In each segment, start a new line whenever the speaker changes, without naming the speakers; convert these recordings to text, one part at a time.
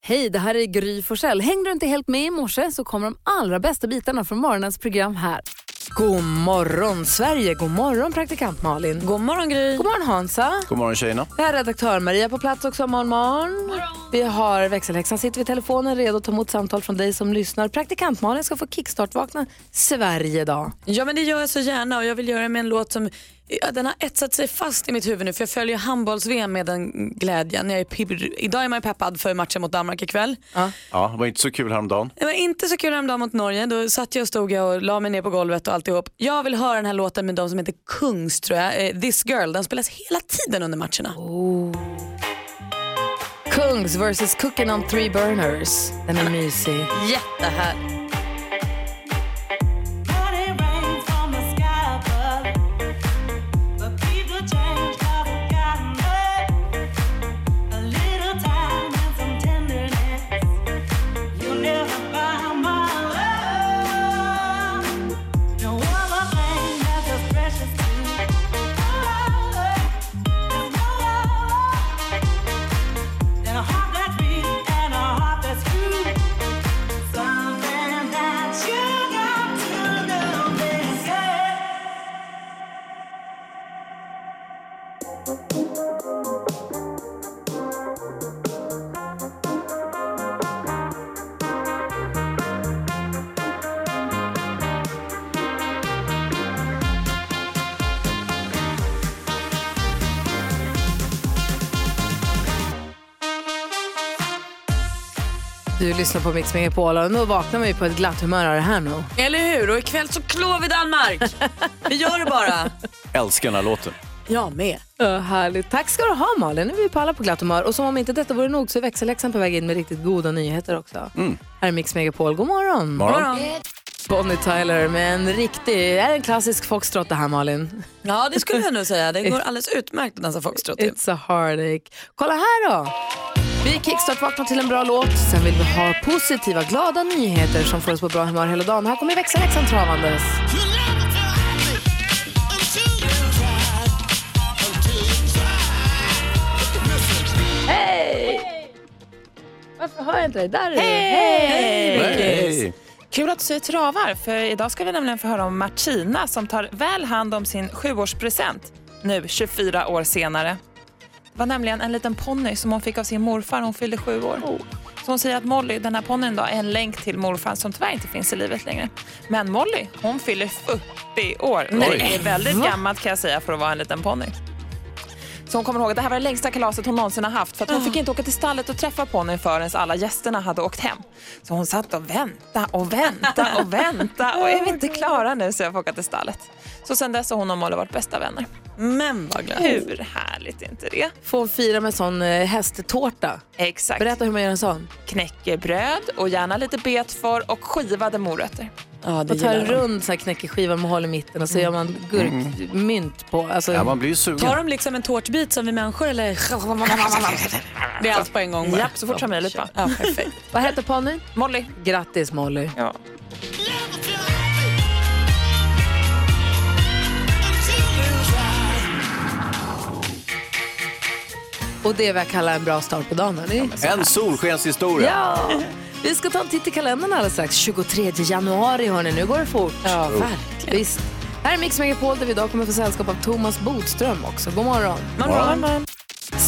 Hej, det här är Gry Forssell. Hängde du inte helt med i morse så kommer de allra bästa bitarna från morgonens program här.
God morgon, Sverige. God morgon, praktikant Malin. God morgon, Gry. God morgon, Hansa.
God morgon tjejerna.
Vi har redaktör Maria på plats också. Morgon, morgon. Vi har växelhäxan sitter vid telefonen redo att ta emot samtal från dig som lyssnar. Praktikant Malin ska få kickstart-vakna Sverige dag.
Ja men det gör jag så gärna och jag vill göra det med en låt som ja, den har etsat sig fast i mitt huvud nu för jag följer handbolls-VM med den glädjen. Jag är pirr. Idag är man ju peppad för matchen mot Danmark ikväll.
Ja, det var inte så kul häromdagen.
Det var inte så kul häromdagen mot Norge. Då satt jag och stod jag och la mig ner på golvet och alltihop. Jag vill höra den här låten med de som heter Kungs tror jag. Eh, This Girl. Den spelas hela tiden under matcherna. Oh.
Kungs vs Cooking on three burners. Den är mysig.
Jättehär.
Du lyssnar på Mix Megapol och nu vaknar man ju på ett glatt humör av det här nu.
Eller hur? Och ikväll så klår vi Danmark. vi gör det bara.
Älskar den här låten.
Jag med.
Ja, härligt. Tack ska du ha Malin. Nu är vi på alla på glatt humör. Och som om inte detta vore nog så är växelläxan på väg in med riktigt goda nyheter också.
Mm.
Här är Mix Megapol. God morgon.
Morgon.
Bonnie Tyler med en riktig, är en klassisk foxtrot det här Malin.
Ja det skulle jag nog säga. Det går alldeles utmärkt att dansa foxtrot till.
It's a heartache. Kolla här då! Vi kickstart-vaknar till en bra låt, sen vill vi ha positiva, glada nyheter som får oss på bra humör hela dagen. Här kommer växelhäxan travandes. Hej! Varför hör jag inte dig? Där är du! Hej!
Hej.
Kul att du säger travar, för idag ska vi nämligen få höra om Martina som tar väl hand om sin sjuårspresent nu 24 år senare. Det var nämligen en liten ponny som hon fick av sin morfar när hon fyllde sju år.
Oh.
Så hon säger att Molly, den här ponnyn då, är en länk till morfar som tyvärr inte finns i livet längre. Men Molly, hon fyller 40 år. Nej, det är väldigt gammalt kan jag säga för att vara en liten ponny. Så hon kommer ihåg att det här var det längsta kalaset hon någonsin har haft för att hon fick inte åka till stallet och träffa ponnyn förrän alla gästerna hade åkt hem. Så hon satt och väntade och väntade och väntade och är vi inte klara nu så jag får åka till stallet. Så sen dess har hon och Molly varit bästa vänner.
Mm.
Men vad glad.
Hur härligt är inte det?
Får fira med sån eh, hästtårta.
Exakt.
Berätta hur man gör en sån.
Knäckebröd och gärna lite betfar och skivade morötter.
Ja, det
Man tar en
gillar de.
rund så här, knäckeskiva med hål i mitten och så gör man gurkmynt på. Alltså,
Ja, man blir ju sugen.
Tar de liksom en tårtbit som vi människor eller? Det är allt på en gång bara.
Japp, så fort som möjligt bara.
Ja, perfekt.
Vad heter ponnyn?
Molly.
Grattis Molly.
Ja.
Och det är vad jag kallar en bra start på dagen. hörni.
En solskenshistoria.
Ja. Vi ska ta en titt i kalendern alldeles strax. 23 januari hörni, nu går det fort. Ja, verkligen. Visst. Här är Mix Megapol där vi idag kommer få sällskap av Thomas Bodström också. God morgon.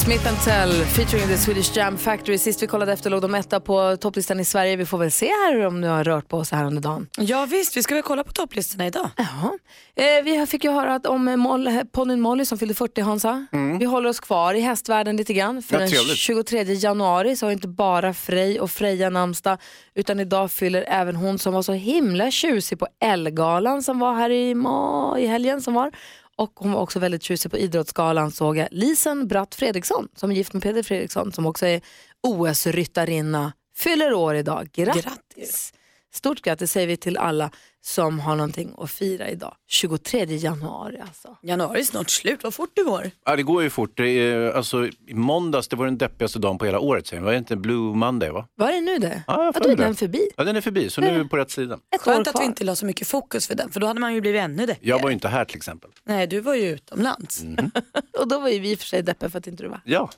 Smith Tell featuring the Swedish Jam Factory. Sist vi kollade efter låg de etta på topplistan i Sverige. Vi får väl se här om du har rört på oss här under dagen.
Ja visst, vi ska väl kolla på topplistorna idag.
Jaha. Eh, vi fick ju höra att om eh, Moll, ponnyn Molly som fyllde 40 Hansa. Vi håller oss kvar i hästvärlden lite grann. För
Mm. Ja,
den
trevligt.
23 januari så har inte bara Frej och Freja namnsdag utan idag fyller även hon som var så himla tjusig på Ellegalan som var här i, ma- i helgen som var. Och hon var också väldigt tjusig på Idrottsgalan såg jag. Lisen Bratt Fredriksson som är gift med Peder Fredriksson som också är OS-ryttarinna fyller år idag. Grattis! Stort grattis säger vi till alla som har någonting att fira idag. 23 januari alltså.
Januari är snart slut, vad fort du går.
Ja, det går ju fort. Det är, alltså, I måndags det var den deppigaste dagen på hela året. Sen. Var det inte Blue Monday? va?
Var är nu det?
Ja, jag
Att
får
då är
det.
den förbi.
Ja, den är förbi, så nu är vi på rätt sida.
Ett år
Skönt att
kvar.
vi inte la så mycket fokus för den, för då hade man ju blivit ännu det.
Jag var ju inte här till exempel.
Nej, du var ju utomlands.
Och Mm. då var ju vi i och för sig deppiga för att inte du var
Ja,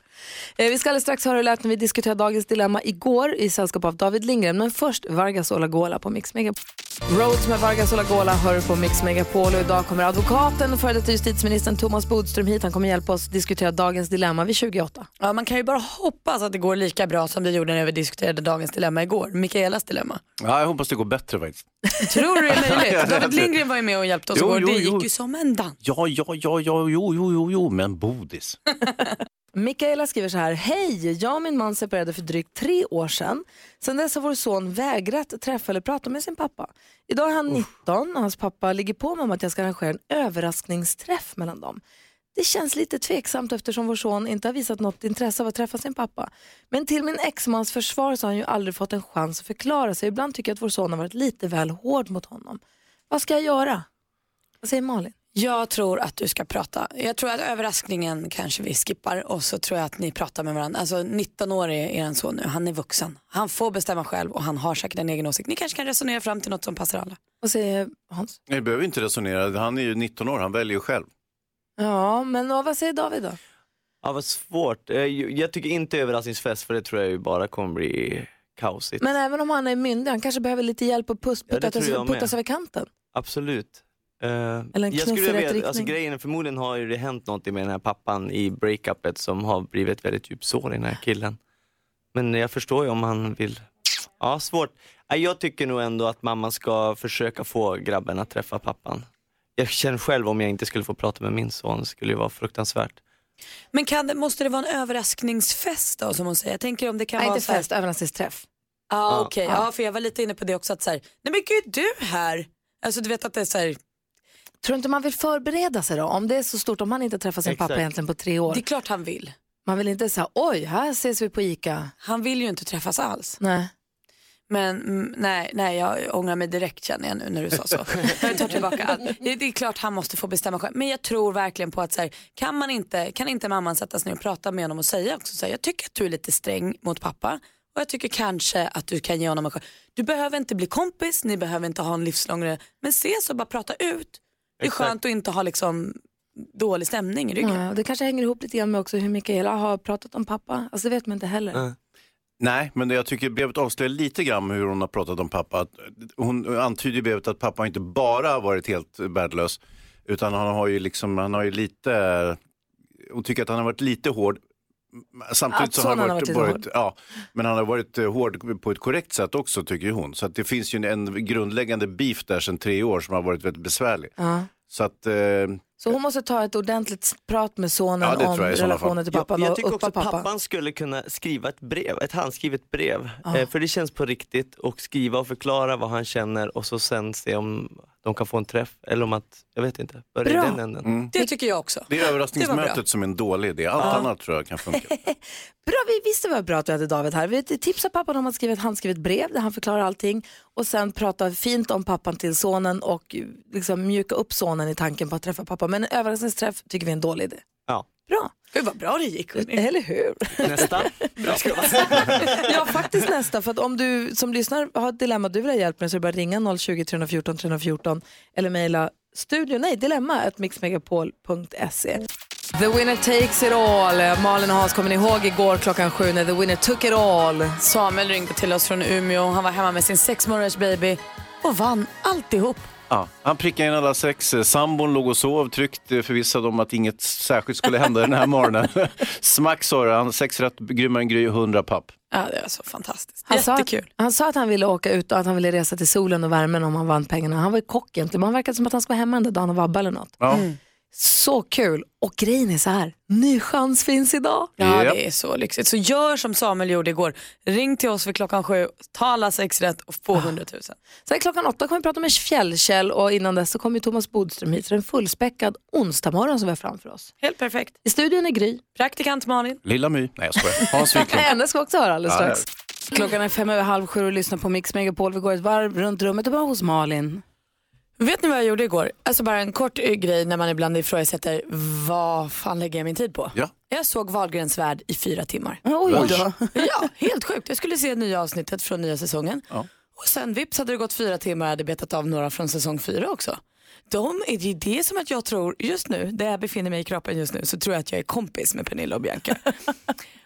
Eh, Vi ska alldeles strax höra hur det lät när vi diskuterade dagens dilemma igår i sällskap av David Lindgren. Men först Vargas Olagola på Mix Megapol. Roads med Vargas Olagola hör på Mix Megapol och idag kommer advokaten och före detta justitieministern Thomas Bodström hit. Han kommer hjälpa oss diskutera dagens dilemma vid 28.
Ja, man kan ju bara hoppas att det går lika bra som det gjorde när vi diskuterade dagens dilemma igår, Mikaelas dilemma.
ja jag hoppas det går bättre faktiskt.
Tror du det är möjligt? David Lindgren var ju med och hjälpte oss
alltså- Jo,
igår,
jo,
det
jo.
gick ju som en dans.
Ja, ja, ja, ja, jo, jo, jo, jo, men bodis.
Mikaela skriver så här. Hej, jag och min man separerade för drygt tre år sedan. Sedan dess har vår son vägrat träffa eller prata med sin pappa. Idag är han 19 och hans pappa ligger på mig om att jag ska arrangera en överraskningsträff mellan dem. Det känns lite tveksamt eftersom vår son inte har visat något intresse av att träffa sin pappa. Men till min exmans försvar så har han ju aldrig fått en chans att förklara sig. Ibland tycker jag att vår son har varit lite väl hård mot honom. Vad ska jag göra? Vad säger Malin?
Jag tror att du ska prata. Jag tror att överraskningen kanske vi skippar och så tror jag att ni pratar med varandra. Alltså 19 år är er son nu, han är vuxen. Han får bestämma själv och han har säkert en egen åsikt. Ni kanske kan resonera fram till något som passar alla.
Vad säger Hans?
Ni behöver inte resonera, han är ju 19 år, han väljer ju själv.
Ja, men vad säger David då?
Ja vad svårt. Eh, ju- Jag tycker inte överraskningsfest för det tror jag ju bara kommer bli kaosigt.
Men även om han är myndig, han kanske behöver lite hjälp att puss,
Ja, det
putta,
tror jag med.
puttas över kanten.
Absolut. Eh,
en knuff
jag skulle
i rätt
vilja veta, alltså,
riktning.
grejen är förmodligen har ju det hänt någonting med den här pappan i breakupet som har blivit väldigt djupt sår i den här killen. Men jag förstår ju om han vill. Ja, svårt. Nej, Jag tycker nog ändå att mamman ska försöka få grabben att träffa pappan. Jag känner själv om jag inte skulle få prata med min son, det skulle ju vara fruktansvärt.
Men kan, det- måste det vara en överraskningsfest då som hon säger? Jag tänker om det kan
Nej,
vara
inte
så här-
fest, överraskningsträff.
Ja ah,
Ja.
okej, ja, för jag var lite inne på det också att så här, nej men gud du här. Alltså du vet att det är så här,
Tror du inte man vill förbereda sig då? Om det är så stort, om han inte träffar sin
Exakt.
pappa egentligen på tre år.
det är klart han vill.
Man vill inte säga, oj, här ses vi på ICA.
Han vill ju inte träffas alls.
Nej.
Men mm, nej, nej, jag ångrar mig direkt känner jag nu när du sa så. Jag tar tillbaka allt. Det, det är klart han måste få bestämma själv. Men jag tror verkligen på att så här, kan, man inte, kan inte mamman sätta sig ner och prata med honom och säga också så här, jag tycker att du är lite sträng mot pappa och jag tycker kanske att du kan ge honom en chans. Du behöver inte bli kompis, ni behöver inte ha en livslång re- men ses och bara prata ut. Det är
Exakt.
skönt att inte ha liksom dålig stämning i ryggen.
Ja, det kanske hänger ihop lite grann med också hur Mikaela har pratat om pappa. Alltså det vet man inte heller.
Nej.
Nej, men jag tycker brevet avslöjar lite grann hur hon har pratat om pappa. Att Hon antyder i brevet att pappa inte bara har varit helt värdelös, utan han har ju liksom, han har ju lite, hon tycker att han har varit lite hård. Samtidigt
Att
så har han
sonen
varit,
har varit lite
varit ja, men han har varit eh, hård på ett korrekt sätt också tycker ju hon. Så att det finns ju en, en grundläggande beef där sedan tre år som har varit väldigt besvärlig.
Ja.
Så att, eh,
Så hon måste ta ett ordentligt prat med sonen
Ja, det
om
tror jag i sådana
relationen
fall.
till
Ja,
pappan
jag
och
tycker också
uppa
att
pappan.
pappan skulle kunna skriva ett brev, ett handskrivet brev. Eh, för det känns på riktigt och skriva och förklara vad han känner och så sen se om de kan få en träff eller om att, jag vet inte, börja
Bra.
i den änden.
Det tycker jag också.
det är överraskningsmötet
bra.
som är en dålig idé. Allt annat tror jag kan funka.
Bra, vi visste det var bra att vi hade David här. Vi tipsar pappan om att skriva ett handskrivet brev där han förklarar allting och sen prata fint om pappan till sonen och eh, liksom mjuka upp sonen i tanken på att träffa pappa. Men en överraskningsträff tycker vi är en dålig idé.
Ja.
Bra,
Gud vad bra det gick. hörni.
eller hur?
Nästa.
ja, faktiskt nästa. För att om du som lyssnar har ett dilemma du vill ha hjälp med så är det bara att ringa 020 314 314 eller mejla studion, nej dilemma, at mixmegapol.se. The winner takes it all. Malin och Hans, kommer ni ihåg igår klockan sju när the winner took it all?
Samuel ringde till oss från Umeå. Han var hemma med sin sex månaders baby och vann alltihop.
Ja, han prickade in alla sex. Sambon låg och sov tryggt eh, förvissad om att inget särskilt skulle hända den här morgonen. Smack sa det, han sex rätt, grymmare än Gry, 100 papp.
Ja, det var så fantastiskt.
Han sa, att,
Jättekul.
han sa att han ville åka ut och att han ville resa till solen och värmen om han vann pengarna. Han var ju kock egentligen, men han verkade som att han skulle vara hemma den där dagen och vabba eller något.
Ja.
Så kul! Och grejen är så här, ny chans finns idag.
Ja,
Japp.
det är så lyxigt. Så gör som Samuel gjorde igår. Ring till oss vid klockan sju, ta alla sex rätt och få 100 000.
Sen klockan åtta kommer vi prata med Fjällkäll och innan dess så kommer ju Thomas Bodström hit. Så det är en fullspäckad onsdagmorgon som vi har framför oss.
Helt perfekt.
I studion är Gry.
Praktikant Malin.
Lilla My. Nej, jag skojar. Hans Wiklund.
Henne ska vi också höra alldeles
Ja,
strax. Klockan är fem över halv sju och lyssnar på Mix Megapol. Vi går ett varv runt rummet och börjar hos Malin.
Vet ni vad jag gjorde igår? Alltså bara en kort eh, grej när man ibland ifrågasätter vad fan lägger jag min tid på?
Ja.
Jag såg Wahlgrens värld i fyra timmar.
Oj.
ja, helt sjukt. Jag skulle se nya avsnittet från nya säsongen. Och sen vips hade det gått fyra timmar och jag hade betat av några från säsong fyra också. De, är det är det som att jag tror just nu, där jag befinner mig i kroppen just nu, så tror jag att jag är kompis med Pernilla och Bianca.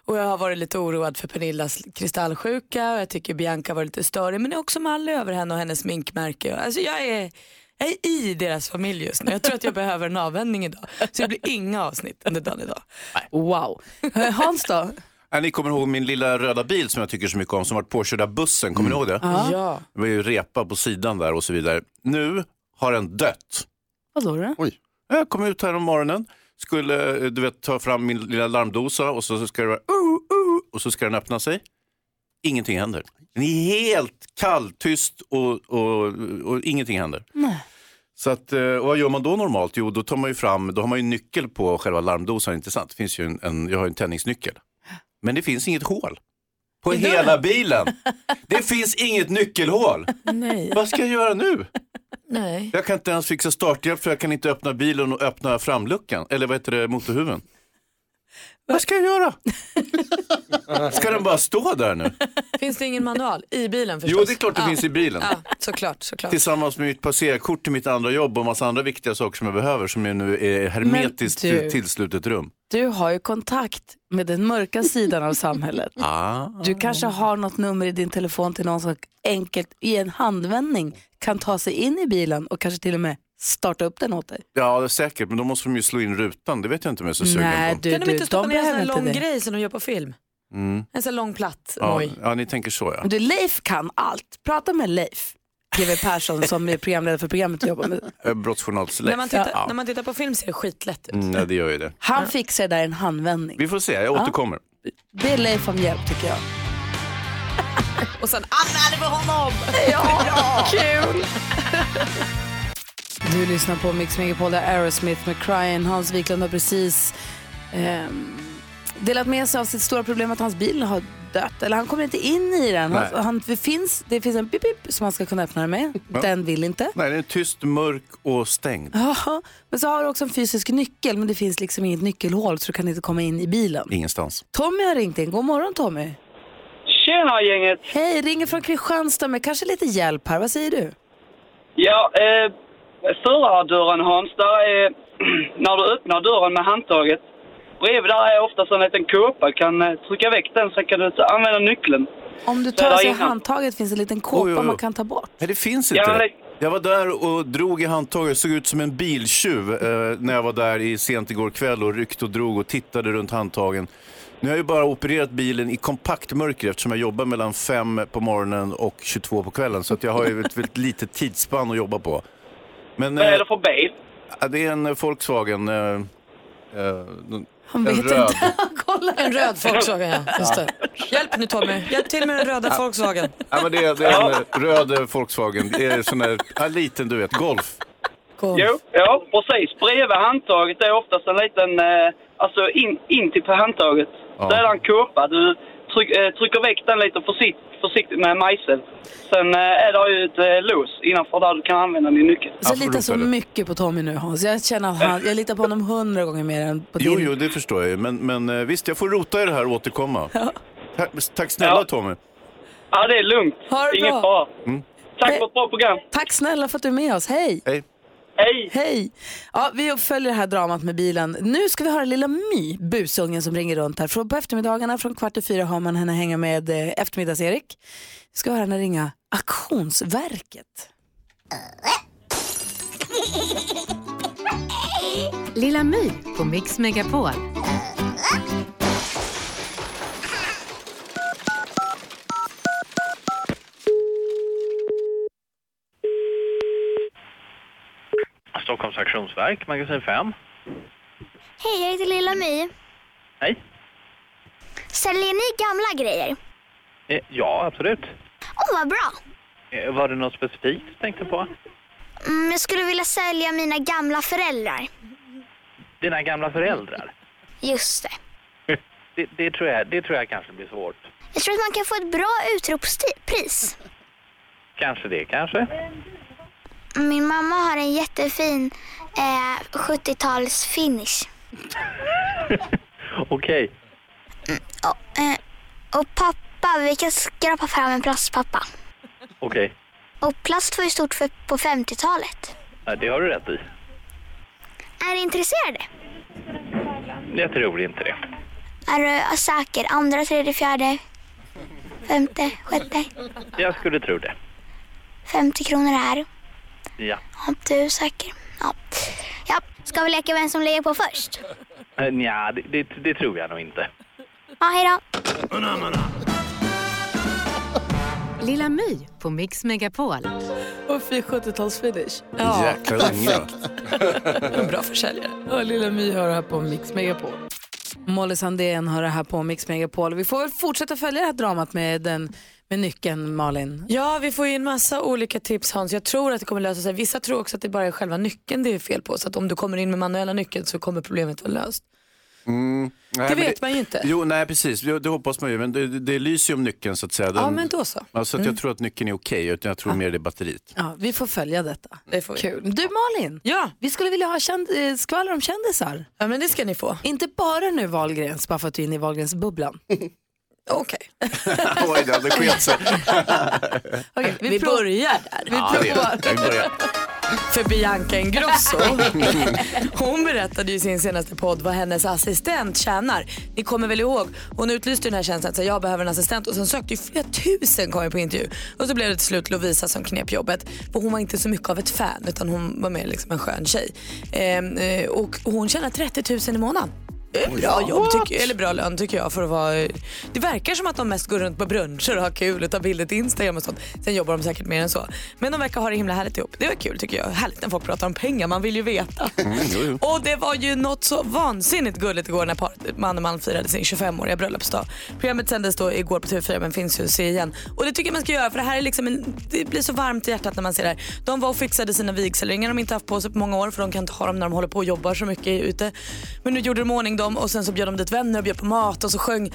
och jag har varit lite oroad för Pernillas kristallsjuka och jag tycker Bianca var lite större men jag är också mall över henne och hennes sminkmärke. Alltså jag är, jag är i deras familj just nu. Jag tror att jag behöver en avvändning idag. Så det blir inga avsnitt under dagen idag.
Wow. Eh, Hans då?
Ja, Ni kommer ihåg min lilla röda bil som jag tycker så mycket om, som varit påkörd av bussen. Kommer ni ihåg det?
Mm. Ja.
Det var ju repa på sidan där och så vidare. Nu har den dött.
Vadå då?
Jag kom ut här om morgonen, skulle eh, du vet, ta fram min lilla larmdosa och så ska det vara uh, uh, och så ska den öppna sig. Ingenting händer. Den är helt kall, tyst och, och, och ingenting händer. Så att, eh, och vad gör man då normalt? Jo, då tar man ju fram, då har man ju nyckel på själva larmdosan, inte sant? Det finns ju en, en, jag har ju en tändningsnyckel. Men det finns inget hål. På hela bilen. Det finns inget nyckelhål.
Nej.
Vad ska jag göra nu?
Nej.
Jag kan inte ens fixa starthjälp för jag kan inte öppna bilen och öppna framluckan, eller vad heter det, motorhuven. Vad ska jag göra? Ska den bara stå där nu?
Finns det ingen manual i bilen förstås?
Jo, det är klart det finns i bilen.
Ja, såklart, såklart.
Tillsammans med mitt passerkort till mitt andra jobb och massa andra viktiga saker som jag behöver som jag nu är hermetiskt
Men du-
tillslutet rum.
Du har ju kontakt med den mörka sidan av samhället.
Ah.
Du kanske har något nummer i din telefon till någon som enkelt i en handvändning kan ta sig in i bilen och kanske till och med starta upp den åt dig.
Ja, det är säkert, men då måste de ju slå in rutan. Det vet jag inte om jag är så sugen
Nej,
på.
du,
Kan de
du,
inte
de
stoppa ner en sån
behöver
här
inte
lång
det.
grej som de gör på film?
Mm.
En sån här lång platt
Ja,
noj.
ja, ni tänker så ja.
Men Du, Leif kan allt. Prata med Leif. GW Persson som är programledare för programmet du jobbar med.
Eh, Brottsjournalsläkt.
När man, tittar,
Ja.
när man tittar på film ser det skitlätt ut.
Mm, nej, det gör ju det.
Han fixar det där i en handvändning.
Vi får se, jag återkommer.
Be Leif om hjälp tycker jag.
Och sen anmäler vi honom!
Du lyssnar på Mix Megapol, där Aerosmith med Crying. Hans Wiklund har precis ehm, delat med sig av sitt stora problem att hans bil har dött. Eller han kommer inte in i den. Han,
Nej.
han, det, finns, det finns en pip, pip som han ska kunna öppna den med. Den vill inte.
Nej, den är tyst, mörk och stängd.
Ja, men så har du också en fysisk nyckel men det finns liksom inget nyckelhål så du kan inte komma in i bilen.
Ingenstans.
Tommy har ringt in. God morgon Tommy.
Tjena gänget!
Hej, ringer från Kristianstad med kanske lite hjälp här. Vad säger du?
Ja, eh, förardörren Hans, där är, när du öppnar dörren med handtaget, bredvid där är oftast en liten kåpa. Kan eh, trycka väck den så kan du ta- använda nyckeln.
Om du
Nej,
tar
det
av
har
sig
ingen-
handtaget finns en liten kåpa
Oj, oj, oj.
man kan ta bort.
Nej, det finns inte.
Ja,
det.
men-
Jag var där och drog i handtaget, såg ut som en biltjuv eh, när jag var där i sent igår kväll och ryckte och drog och tittade runt handtagen. Nu har jag ju bara opererat bilen i kompakt mörker eftersom jag jobbar mellan 5 på morgonen och 22 på kvällen så att jag har ju ett väldigt litet tidsspann att jobba på. Men
Vad är
eh,
det för bil?
det är en eh, Volkswagen, eh, eh, en
Han
en
vet
röd.
inte. Han kollar.
En röd Volkswagen, ja. Just det. Hjälp nu Tommy, hjälp till med den röda Volkswagen.
Ja, men det, är, det är en eh, röd eh, Volkswagen, det är sån där, ja, liten du vet, Golf.
Jo, ja precis. Bredvid handtaget är oftast en liten, eh, alltså in, in till på handtaget.
Ja.
Där är en kåpa. Du tryck, eh, trycker väck den lite försikt, försiktigt med en mejsel. Sen eh, är det ju ett eh, lås innanför där du kan använda din nyckel.
Så jag
Absolut,
litar så
eller?
mycket på Tommy nu Hans. Jag känner att han, jag litar på honom hundra gånger mer än på
Jo,
din.
jo, det förstår jag ju. Men, men eh, visst, jag får rota i det här och återkomma. Tack, tack snälla
Ja.
Tommy.
Ja, det är lugnt.
Ha det
Ingen
bra.
fara.
Mm.
Tack för ett bra program.
Tack snälla för att du är med oss. Hej!
Hej.
Hej!
Hej! Ja, vi följer det här dramat med bilen. Nu ska vi höra lilla My, busungen som ringer runt här. Från på eftermiddagarna från kvart i fyra har man henne hänga med eh, eftermiddags-Erik. Vi ska höra henne ringa Auktionsverket.
Lilla My på Mix Megapol.
Stockholms auktionsverk, magasin 5.
Hej, jag heter Lilla My.
Hej.
Säljer ni gamla grejer?
Eh, Ja, absolut.
Åh, vad bra!
Eh, Var det något specifikt du tänkte på?
Mm, jag skulle vilja sälja mina gamla föräldrar.
Dina gamla föräldrar?
Just det.
Det, det, tror, jag, det tror jag kanske blir svårt.
Jag tror att man kan få ett bra utropspris.
Kanske det, kanske.
Min mamma har en jättefin eh, 70-tals finish.
Okej.
Och, eh, och pappa, vi kan skrapa fram en plastpappa.
Okej.
Och plast var ju stort för, på 50-talet.
Ja, Det har du rätt i.
Är du intresserad?
Jag tror inte det.
Är du säker? Andra, tredje, fjärde, femte, sjätte,
Jag skulle tro det.
50 kronor här.
Ja.
Om du är säker. Ja. ja. Ska vi leka vem som lägger på först?
Eh, Nja, det, det, det tror jag nog inte.
Ja, hej då.
Lilla My på Mix Megapol.
Och fy 70-talsfinish.
Ja.
Jäkla unge. va?
Bra försäljare. Och Lilla My har det här på Mix Megapol. Molly Sandén har det här på Mix Megapol. Vi får väl fortsätta följa det här dramat med, den, med nyckeln, Malin.
Ja, vi får ju en massa olika tips Hans. Jag tror att det kommer lösa sig. Vissa tror också att det bara är själva nyckeln det är fel på. Så att om du kommer in med manuella nyckeln så kommer problemet vara löst.
Mm. Nej,
det
men
vet man ju inte.
Jo, nej precis. Jo, Det hoppas man ju. Men det, det- det lyser ju om nyckeln så att säga. Den,
Ja, men då så. Mm.
Ja, så att jag tror att nyckeln är okej. utan jag tror mer det är batteriet.
Ja, vi får följa detta.
Det får vi.
Kul. Du Malin, ja. vi skulle vilja ha känd, eh, skvaller om kändisar.
Ja, men det ska ni få.
Inte bara nu Wahlgrens, bara för att du är inne i Wahlgrens-bubblan.
Okej.
Oj, det hade skett sig. Mm.
Okej,
Äh, Vi,
prov-
börjar där.
Vi
Ja, det
provar.
är- vi börjar.
För Bianca Ingrosso. Hon berättade ju i sin senaste podd vad hennes assistent tjänar. Ni kommer väl ihåg, hon utlyste ju den här tjänsten så här, jag behöver en assistent och sen sökte ju flera tusen kom ju på intervju. Och så blev det till slut Lovisa som knep jobbet. För hon var inte så mycket av ett fan utan hon var mer liksom en skön tjej. Ehm, eh, och hon tjänar 30 000 i månaden. Det är Bra jobb, tycker, eller bra lön tycker jag för att vara... Det verkar som att de mest går runt på bruncher och har kul och tar bilder till Instagram och sånt. Sen jobbar de säkert mer än så. Men de verkar ha det himla härligt ihop. Det var kul tycker jag. Härligt när folk pratar om pengar, man vill ju veta.
Mm, jo, jo.
Och det var ju något så vansinnigt gulligt igår när paret, man och man firade sin 25-åriga bröllopsdag. Programmet sändes då igår på TV4 men finns ju att se igen. Och det tycker jag man ska göra för det här är liksom en, det blir så varmt i hjärtat när man ser det här. De var och fixade sina vigselringar de inte haft på sig på många år för de kan inte ha dem när de håller på och jobbar så mycket ute. Men nu gjorde de i ordning dem och sen så bjöd de dit vänner och bjöd på mat och så sjöng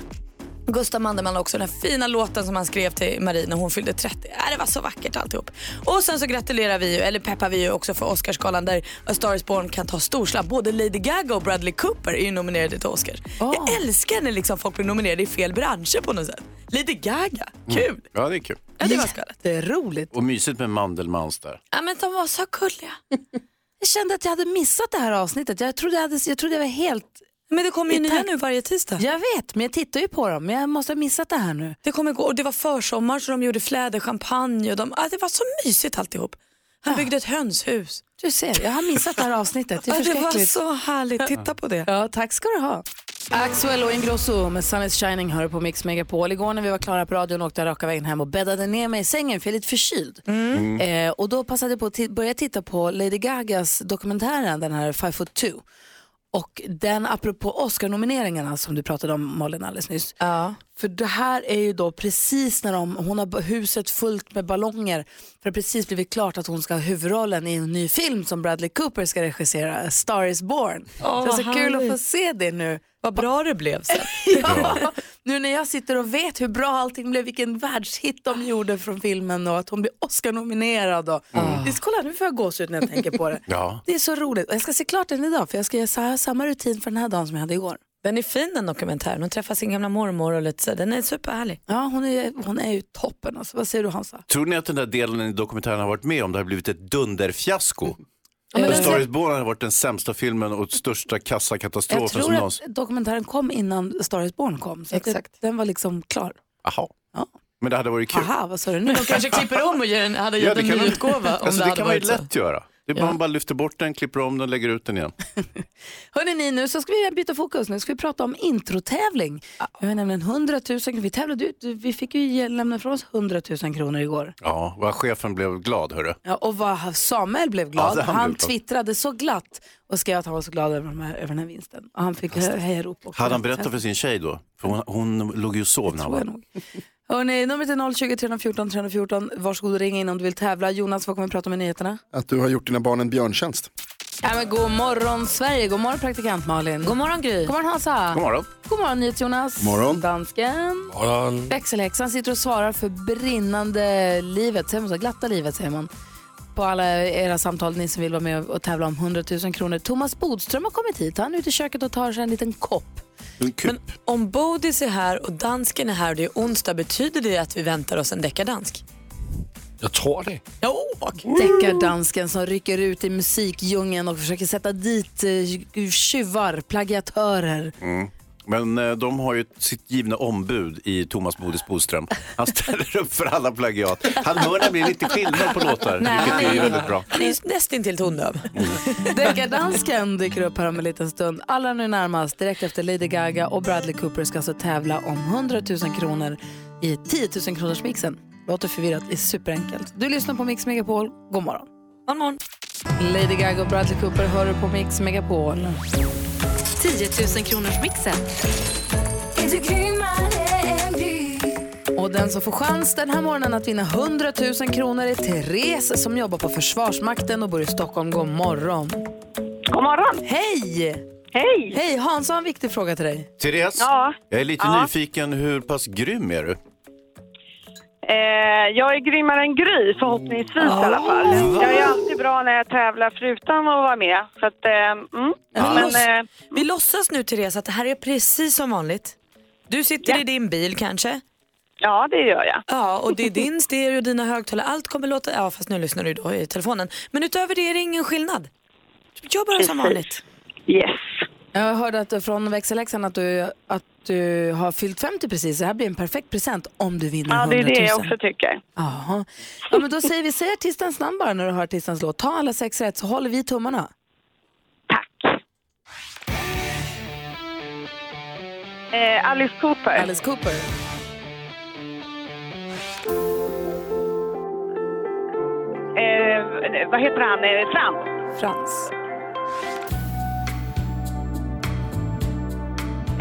Gustav Mandelmann också, den här fina låten som han skrev till Marie när hon fyllde 30. Äh, det var så vackert alltihop. Och sen så gratulerar vi ju, eller peppar vi ju också för Oscarsgalan där A Star is Born kan ta storslapp. Både Lady Gaga och Bradley Cooper är ju nominerade till Oscars.
Ah.
Jag älskar när liksom folk blir nominerade i fel branscher på något sätt. Lady Gaga, kul!
Ja, det är kul.
Ja, det var skvallret.
Det är roligt.
Och mysigt med Mandelmans där.
Ja, men de var så gulliga.
Jag kände att jag hade missat det här avsnittet. Jag trodde jag, hade, jag, trodde jag var helt...
Men det kommer ju
I
nya
takt.
nu varje tisdag.
Jag vet, men jag tittar ju på dem. Men jag måste ha missat det här nu.
Det kommer gå och det var försommar så de gjorde fläder, champagne och de, ah, det var så mysigt alltihop. Han byggde ett hönshus.
Ah. Du ser, jag har missat det här avsnittet. Det är
Ja, det var
förskräckligt.
så härligt, titta på det.
Ja, tack ska du ha. Axwell och Ingrosso med Sun is shining hör du på Mix Megapol. Igår när vi var klara på radion åkte jag raka vägen hem och bäddade ner mig i sängen för jag är lite förkyld.
Mm.
Eh, och då passade jag på att ti- börja titta på Lady Gagas dokumentären, den här Five foot two. Och den, apropå Oscar-nomineringarna som du pratade om Malin alldeles nyss. För det här är ju då precis när de, hon har huset fullt med ballonger. För det har precis blivit klart att hon ska ha huvudrollen i en ny film som Bradley Cooper ska regissera, A Star is born. så det är så
vad
kul att
härligt.
få se det nu. Eh,
Vad bra det blev sen.
Ja, nu när jag sitter och vet hur bra allting blev, vilken världshit de gjorde från filmen och att hon blev Oscar-nominerad. Och...
Ah.
Det är, kolla, nu får jag gåshud när jag tänker på det.
Ja.
Det är så roligt. Och Jag ska se klart den idag för jag ska göra sa- samma rutin för den här dagen som jag hade igår.
Den är fin den dokumentären. Hon träffar sin gamla mormor och lite så. Den är superhärlig.
Ja, hon är, hon är ju toppen. Alltså. Vad säger du Hansa?
Tror ni att den där delen i dokumentären har varit med om det har blivit ett dunderfiasko?
Ja, men
A
den-
alltså-
Star is Born har varit den sämsta filmen och största
jag
kassakatastrofen som
tror att
någonsin...
dokumentären kom innan A Star is Born kom. Så att
Exakt.
Det, den var liksom klar.
Jaha.
Ja.
Men det hade varit kul.
Aha, vad sa du nu?
De kanske klipper om och ger en, hade
Ja,
gett
det
en
kan man-
nyutgåva om
Alltså,
det
det,
hade
kan man ju
varit så.
lätt göra. Det är bara Man bara lyfter bort den, klipper om den, lägger ut den igen.
Hörrni, ni, nu så ska vi byta fokus. Nu ska vi prata om introtävling. Vi har nämligen 100 000 kronor. Vi tävlade ut, vi fick ju ge- lämna ifrån oss 100 000 kronor igår.
Ja, vad chefen blev glad hörru.
Ja, och vad Samuel blev glad.
Ja,
han
Alltså, han blev glad.
twittrade så glatt och skrev att han var så glad över, de här, över den här vinsten. Och han fick hö- hejarop också.
Hade han berättat för sin tjej då? För hon, hon låg ju och sov när han
tror jag
var...
nog. Hörrni, numret är 020 314 314. Varsågod och ring in om du vill tävla. Jonas, vad kommer vi prata om i nyheterna?
Att du har gjort dina barn en björntjänst.
Ja, men god morgon Sverige, god morgon praktikant Malin. God
God morgon Gry.
morgon Hansa.
God morgon.
God morgon NyhetsJonas.
God morgon.
Dansken. Växelhäxan sitter och svarar för brinnande livet, säger man så? Glatta livet säger man. på alla era samtal, ni som vill vara med och tävla om 100 000 kronor. Thomas Bodström har kommit hit. Han är ute i köket och tar sig en liten kopp.
Men om Bodis är här och dansken är här och det är onsdag, betyder det att vi väntar oss en deckardansk?
Jag tror det.
Deckardansken som rycker ut i musikdjungeln och försöker sätta dit eh, tjuvar, plagiatörer.
Mm. Men eh, de har ju sitt givna ombud i Thomas Bodis Bodström. Han ställer upp för alla plagiat. Han hör nämligen lite skillnad på låtar,
Nej.
vilket är ju väldigt bra.
Han är ju nästan till tondöv.
Deckardansken dyker upp här om en liten stund. Allra nu närmast, direkt efter Lady Gaga och Bradley Cooper ska alltså tävla om 100 000 kronor i 10 000 kronors mixen. Låter förvirrat, det är superenkelt. Du lyssnar på Mix Megapol, god morgon.
God morgon.
Lady Gaga och Bradley Cooper hör du på Mix Megapol.
10 000 kronors mixen.
Och den som får chans den här morgonen att vinna 100 000 kronor är Therese som jobbar på Försvarsmakten och bor i Stockholm. God morgon.
God morgon.
Hej!
Hej!
Hej, Hans har en viktig fråga till dig.
Therese,
Ja.
jag är lite
Ja.
nyfiken. Hur pass grym är du?
Eh, jag är grymmare än Gry, förhoppningsvis i alla fall. Jag är alltid bra när jag tävlar förutan att vara med. Så att, eh, mm.
Men vi,
Men,
låts,
eh,
vi låtsas nu Therese att det här är precis som vanligt. Du sitter i din bil kanske?
Ja, det gör jag.
Ja, och det är din stereo, dina högtalare, allt kommer låta... Ja, fast nu lyssnar du då i telefonen. Men utöver det är det ingen skillnad. Gör bara som
Precis.
vanligt.
Yes.
Jag hörde att, eh, från växelläxan att du, att du har fyllt 50 precis. Det här blir en perfekt present om du vinner
ja,
100
det
000.
är det jag också tycker.
Jaha. Ja, men då säger vi, säg artistens namn bara när du hör artistens låt. Ta alla sex rätt så håller vi tummarna. Tack.
Eh, Alice Cooper.
Alice Cooper.
Eh, vad heter han? Eh, Frans.
Frans.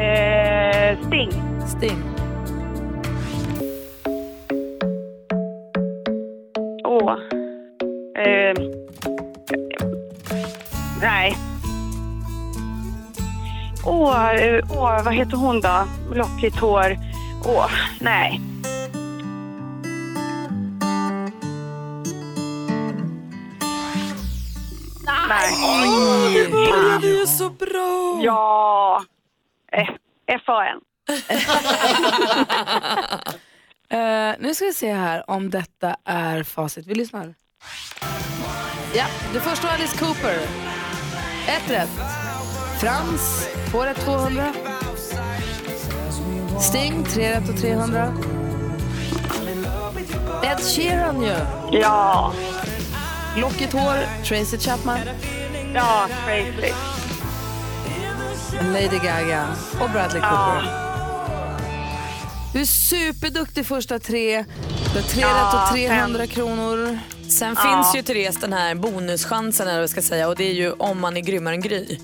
Eh, Sting.
Sting.
Åh. Eh, nej. Åh, eh, åh, vad heter hon då? Lockigt hår. Åh, nej. Nej.
Oj,
Fan.
det är så bra!
Ja. Eh, FAN.
Eh, nu ska vi se här om detta är facit. Vi lyssnar. Ja, du första var Alice Cooper. Ett rätt. Frans, två rätt 200. Sting, tre rätt och 300. Ed Sheeran ju.
Ja.
Lockigt hår, Tracy Chapman.
Ja, crazy.
Lady Gaga och Bradley
Ja.
Cooper. Du är superduktig första tre. Du har tre
Ja,
rätt och
fem.
300 kronor.
Sen
Ja.
finns ju Therese den här bonuschansen eller vad jag ska säga och det är ju om man är grymmare än Gry.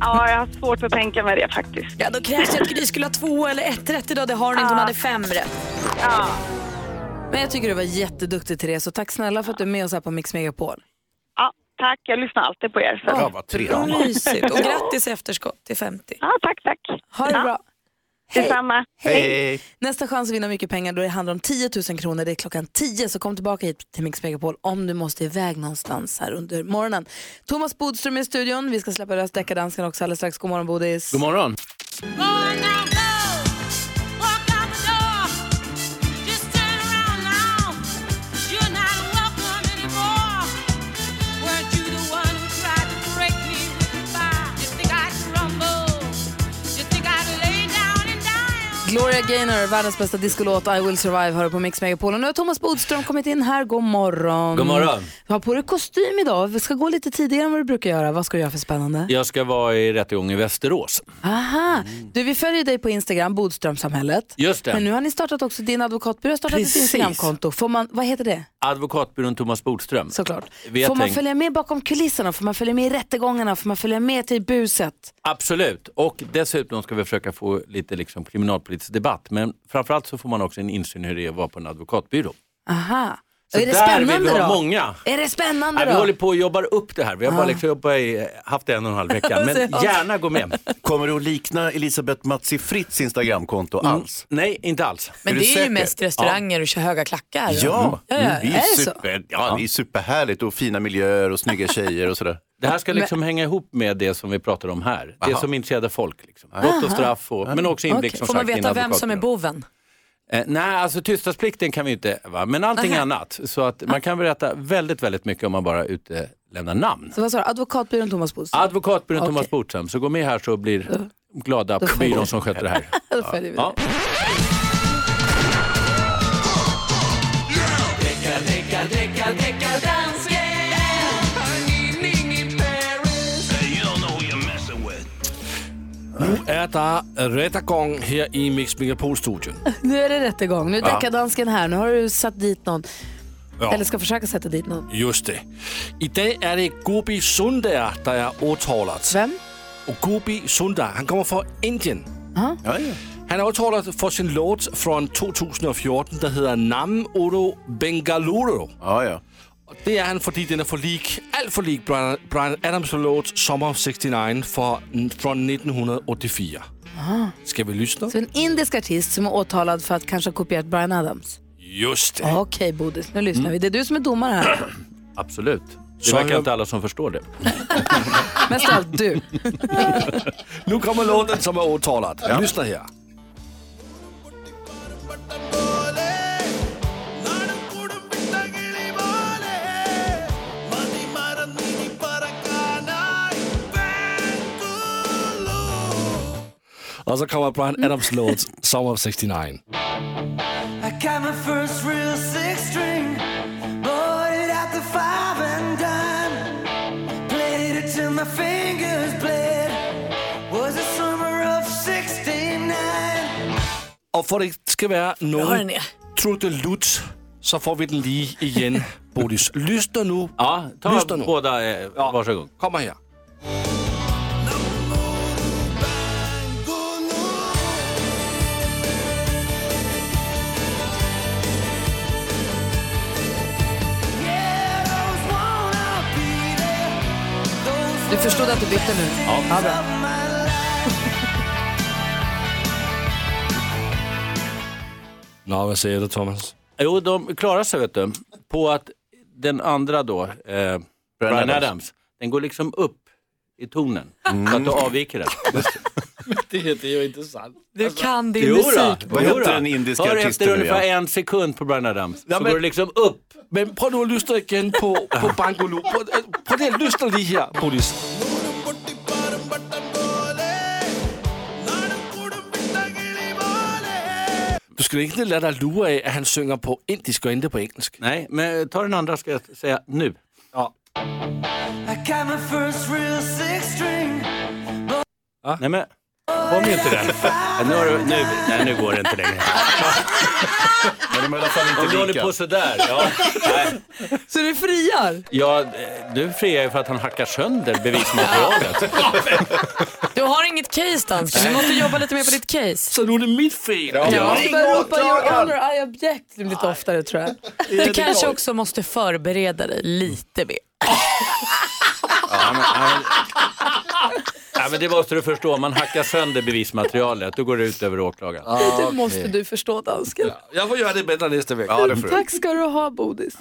Ja, jag har svårt att tänka mig det faktiskt.
Ja, då krävs det att Gry skulle ha två eller ett rätt idag. Det har hon inte, hon hade fem rätt.
Men jag tycker du var jätteduktig Therese och tack snälla för att du är med oss här på Mix Megapol.
Ja, tack. Jag lyssnar alltid på er. Så.
Ja, vad trevligt.
Vad Mysigt och grattis i efterskott till 50.
Ja, tack, tack.
Ha det bra. Hej.
Detsamma.
Nästa chans att vinna mycket pengar då det handlar om 10 000 kronor. Det är klockan 10 så kom tillbaka hit till Mix Megapol om du måste iväg någonstans här under morgonen. Thomas Bodström är i studion. Vi ska släppa lös deckardansken också alldeles strax. God morgon Bodis.
God morgon.
Gloria Gaynor, världens bästa discolåt I will survive hör du på Mix Megapol. Och nu har Thomas Bodström kommit in här. God morgon.
God morgon.
Du har på dig kostym idag. Vi ska gå lite tidigare än vad du brukar göra. Vad ska du göra för spännande?
Jag ska vara i rättegång i Västerås.
Aha, du vi följer dig på Instagram, Bodströmsamhället.
Mm. Just det.
Men nu har ni startat också, din advokatbyrå har startat ett
Precis.
Instagramkonto. Får man, vad heter det?
Advokatbyrån Thomas Bodström.
Såklart.
Vi har
Får man
tänkt-
följa med bakom kulisserna? Får man följa med i rättegångarna? Får man följa med till buset?
Absolut, och dessutom ska vi försöka få lite liksom kriminalpolitisk debatt. Men framförallt så får man också en insyn hur det är att vara på en advokatbyrå.
Aha. är det
där
spännande
vill vi ha
då?
många.
Är det spännande
Nej, vi
då?
håller på och jobbar upp det här. Vi har bara
Ah.
liksom jobbat i, haft det en och en halv vecka. Men gärna gå med.
Kommer du att likna Elisabeth Matsi Fritts Instagramkonto alls?
Mm. Nej, inte alls.
Men det är ju mest restauranger och kör höga
Ja,
klackar. Mm. ja,
ja.
ja.
Mm,
det
är
är,
det så?
super, ja, det är superhärligt och fina miljöer och snygga tjejer och sådär.
Det här ska liksom hänga ihop med det som vi pratar om här. Det som intresserar folk. Liksom. Brott och
Aha.
straff, och, men också inblick
Okej.
som
Får
sagt.
man veta
innan
vem som är boven?
Eh, nej, alltså tystnadsplikten kan vi inte, va? men allting
Nähä.
annat. Så att man kan berätta väldigt, väldigt mycket om man bara utelämnar namn.
Så vad sa du? Advokatbyrån Thomas Bodström?
Advokatbyrån
Okej.
Thomas Bodström, så gå med här så blir glada
Då följer
byrån
vi.
som sköter det här.
Då följer vi
Ja.
Nu er der rettergång her i Mix Megapol-studion.
Nu är det rättegång. Nu är
Ja.
deckardansken här. Nu har du satt dit någon.
Ja.
Eller ska försöka sätta dit någon.
Just det. I dag er det Gobi Sundar, der er åtalet.
Hvem?
Og Gobi Sundar, han kommer fra Indien.
Ja, ja.
Han er åtalet for sin låt fra 2014, der hedder Nam Oro Bengaluru.
Ja, ja.
Og det er han, fordi den er for lig, alt for lig Brian, Brian Adams' låt Sommer 69 fra, fra 1984.
Aha.
Skal vi lytte?
Så en indisk artist som är åtalad för att kanske ha kopierat Brian Adams.
Just det.
Okej, Bodis. Nu lyssnar vi. Det är du som är domare här.
Absolut. Det
Så
verkar
jag-
inte alla som förstår det.
Mest av allt du.
Nu kommer låten som är åtalad. Lyssna här. Och så Alltså kommer Brian Adams låt Summer of 69.
I got my first real six string, bought it at the five and dime. Played it till my fingers bled. Was the summer of 69.
Och för det ska vara
Hör
någon
den ner.
trudelutt så får vi den lige igen. Bodis, lyssna nu.
Ja, ta
lyssna nu.
båda eh, varsin gång.
Kommer här.
Du förstod att du bytte nu?
Ja.
bra.
Nå, vad säger du Thomas?
Jo, de klarar sig vet du. På att den andra då, eh, Brian, Adams.
Adams.
den går liksom upp i tonen. Så att du avviker den.
Det, det är ju inte sant.
Alltså,
Du kan din
Jo då,
musik.
jo då. Hör efter ungefär en sekund på Brian Adams.
Ja,
så
men-
går det liksom upp.
Men prøv nu at lytte igen på, på Bangolo. Prøv, prøv lige at lytte lige her, Bodis. Du skal ikke lade dig lure af, at han synger på indisk og ikke på engelsk.
Nej, men øh, ta den andra ska jag säga nu.
I got my first real six string.
Nej men, Ah. kom ju inte den. Ja, Nu, har du, nu, nej, nu går det inte längre.
Men de är i alla fall inte
Om du
lika.
håller på sådär. Ja, nej.
Så du friar?
ja, du friar ju för att han hackar sönder bevismaterialet.
Du har inget case dansken, du måste jobba lite mer på ditt case.
Så nu är det mitt fel.
Ja.
Jag
Du börjar ropa your honor, I object lite oftare tror jag.
Du kanske också måste förbereda dig lite mer.
Ja, men, nej. Nej, men det måste du förstå, om man hackar sönder bevismaterialet, då går det ut över åklagaren.
Det måste du förstå dansken.
Jeg får gøre det bedre næste vecka.
Ja, det får du.
Tack ska du ha Bodis.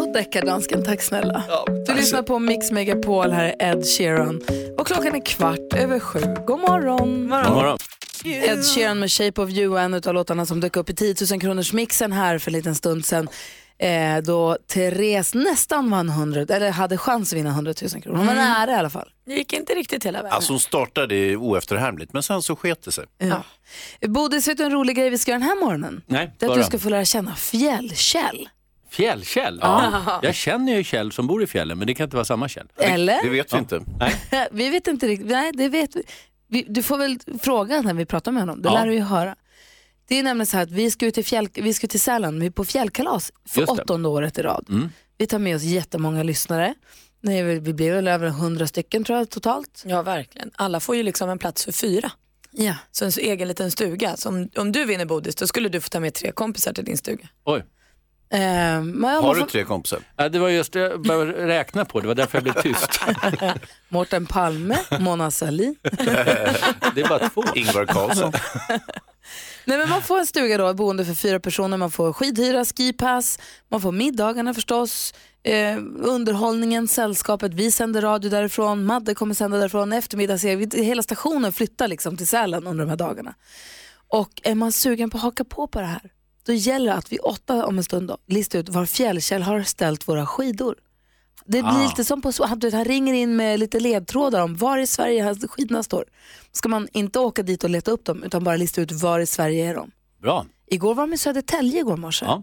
Och deckardansken, tack snälla. Du lyssnar på Mix Megapol, här är Ed Sheeran. Och klockan är kvart över sju. God morgon.
God morgon.
Ed Sheeran med Shape of You, en av låtarna som dök upp i 10 000 kronors mixen här för en liten stund sedan. Eh, då Therese nästan vann 100, eller hade chans att vinna 100 000 kronor. Hon var
Mm.
nära i alla fall.
Det gick inte riktigt hela vägen.
Alltså hon startade oefterhärmligt, men sen så sket det sig.
Ja. Bodis, vet du en rolig grej vi ska göra den här morgonen?
Nej,
Det är att
vadå?
du ska få lära känna Fjällkäll.
Fjällkäll?
Ja.
Jag känner ju Kjell som bor i fjällen, men det kan inte vara samma Kjell.
Eller? Det
vet vi inte.
vi vet inte riktigt. Nej, det vet vi. vi. Du får väl fråga när vi pratar med honom. Det
Ja.
lär du ju höra. Det är nämligen så här att vi ska ut till, fjäll, vi ska ut till Sälen, vi är på fjällkalas för
Just det.
åttonde året i rad.
Mm.
Vi tar med oss jättemånga lyssnare. Nej, vi- Vi blir väl över hundra stycken tror jag totalt.
Ja, verkligen. Alla får ju liksom en plats för fyra.
Ja.
Så en egen liten stuga. Så om, om du vinner Bodis, då skulle du få ta med tre kompisar till din stuga.
Oj.
Ehm, men jag
Har du
måste-
tre kompisar?
Ja, det var just det jag började räkna på, det var därför jag blev tyst.
Mårten Palme, Mona Sahlin.
det är bara två.
Ingvar Carlsson.
Nej, men man får en stuga då, ett boende för fyra personer, man får skidhyra, skipass, man får middagarna förstås, eh, underhållningen, sällskapet, vi sänder radio därifrån, Madde kommer sända därifrån, eftermiddagsserie, Vi- hela stationen flyttar liksom till Sälen under de här dagarna. Och är man sugen på att haka på på det här, då gäller det att vi åtta om en stund då, listar ut var Fjällkäll har ställt våra skidor. Det blir
Ah.
lite som på han, du vet, han ringer in med lite ledtrådar om var i Sverige hans skidorna står. Ska man inte åka dit och leta upp dem utan bara lista ut var i Sverige är de.
Bra.
Igår var de i Södertälje igår morse.
Ja.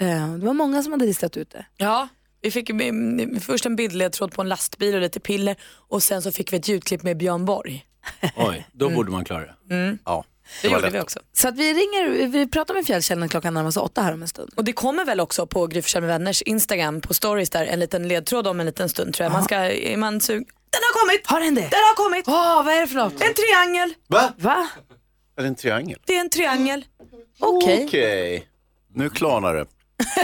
Eh, Det var många som hade listat ut det.
Ja, vi fick mm, först en bildledtråd på en lastbil och lite piller och sen så fick vi ett ljudklipp med Björn Borg.
Oj, då borde man klara det.
Mm.
Ja,
Det, gjorde vi också.
Så att vi ringer, vi pratar med Fjällkäll när klockan närmar sig åtta här om en stund.
Och det kommer väl också på Gry Forssell med vänners Instagram på stories där en liten ledtråd om en liten stund tror jag. Man ska, är man sug... Den har kommit!
Har den det? Den
har kommit!
Åh, vad är det för något?
En triangel!
Va?
Va?
Är det en triangel?
Det är en triangel.
Okej. Nu klarnar det.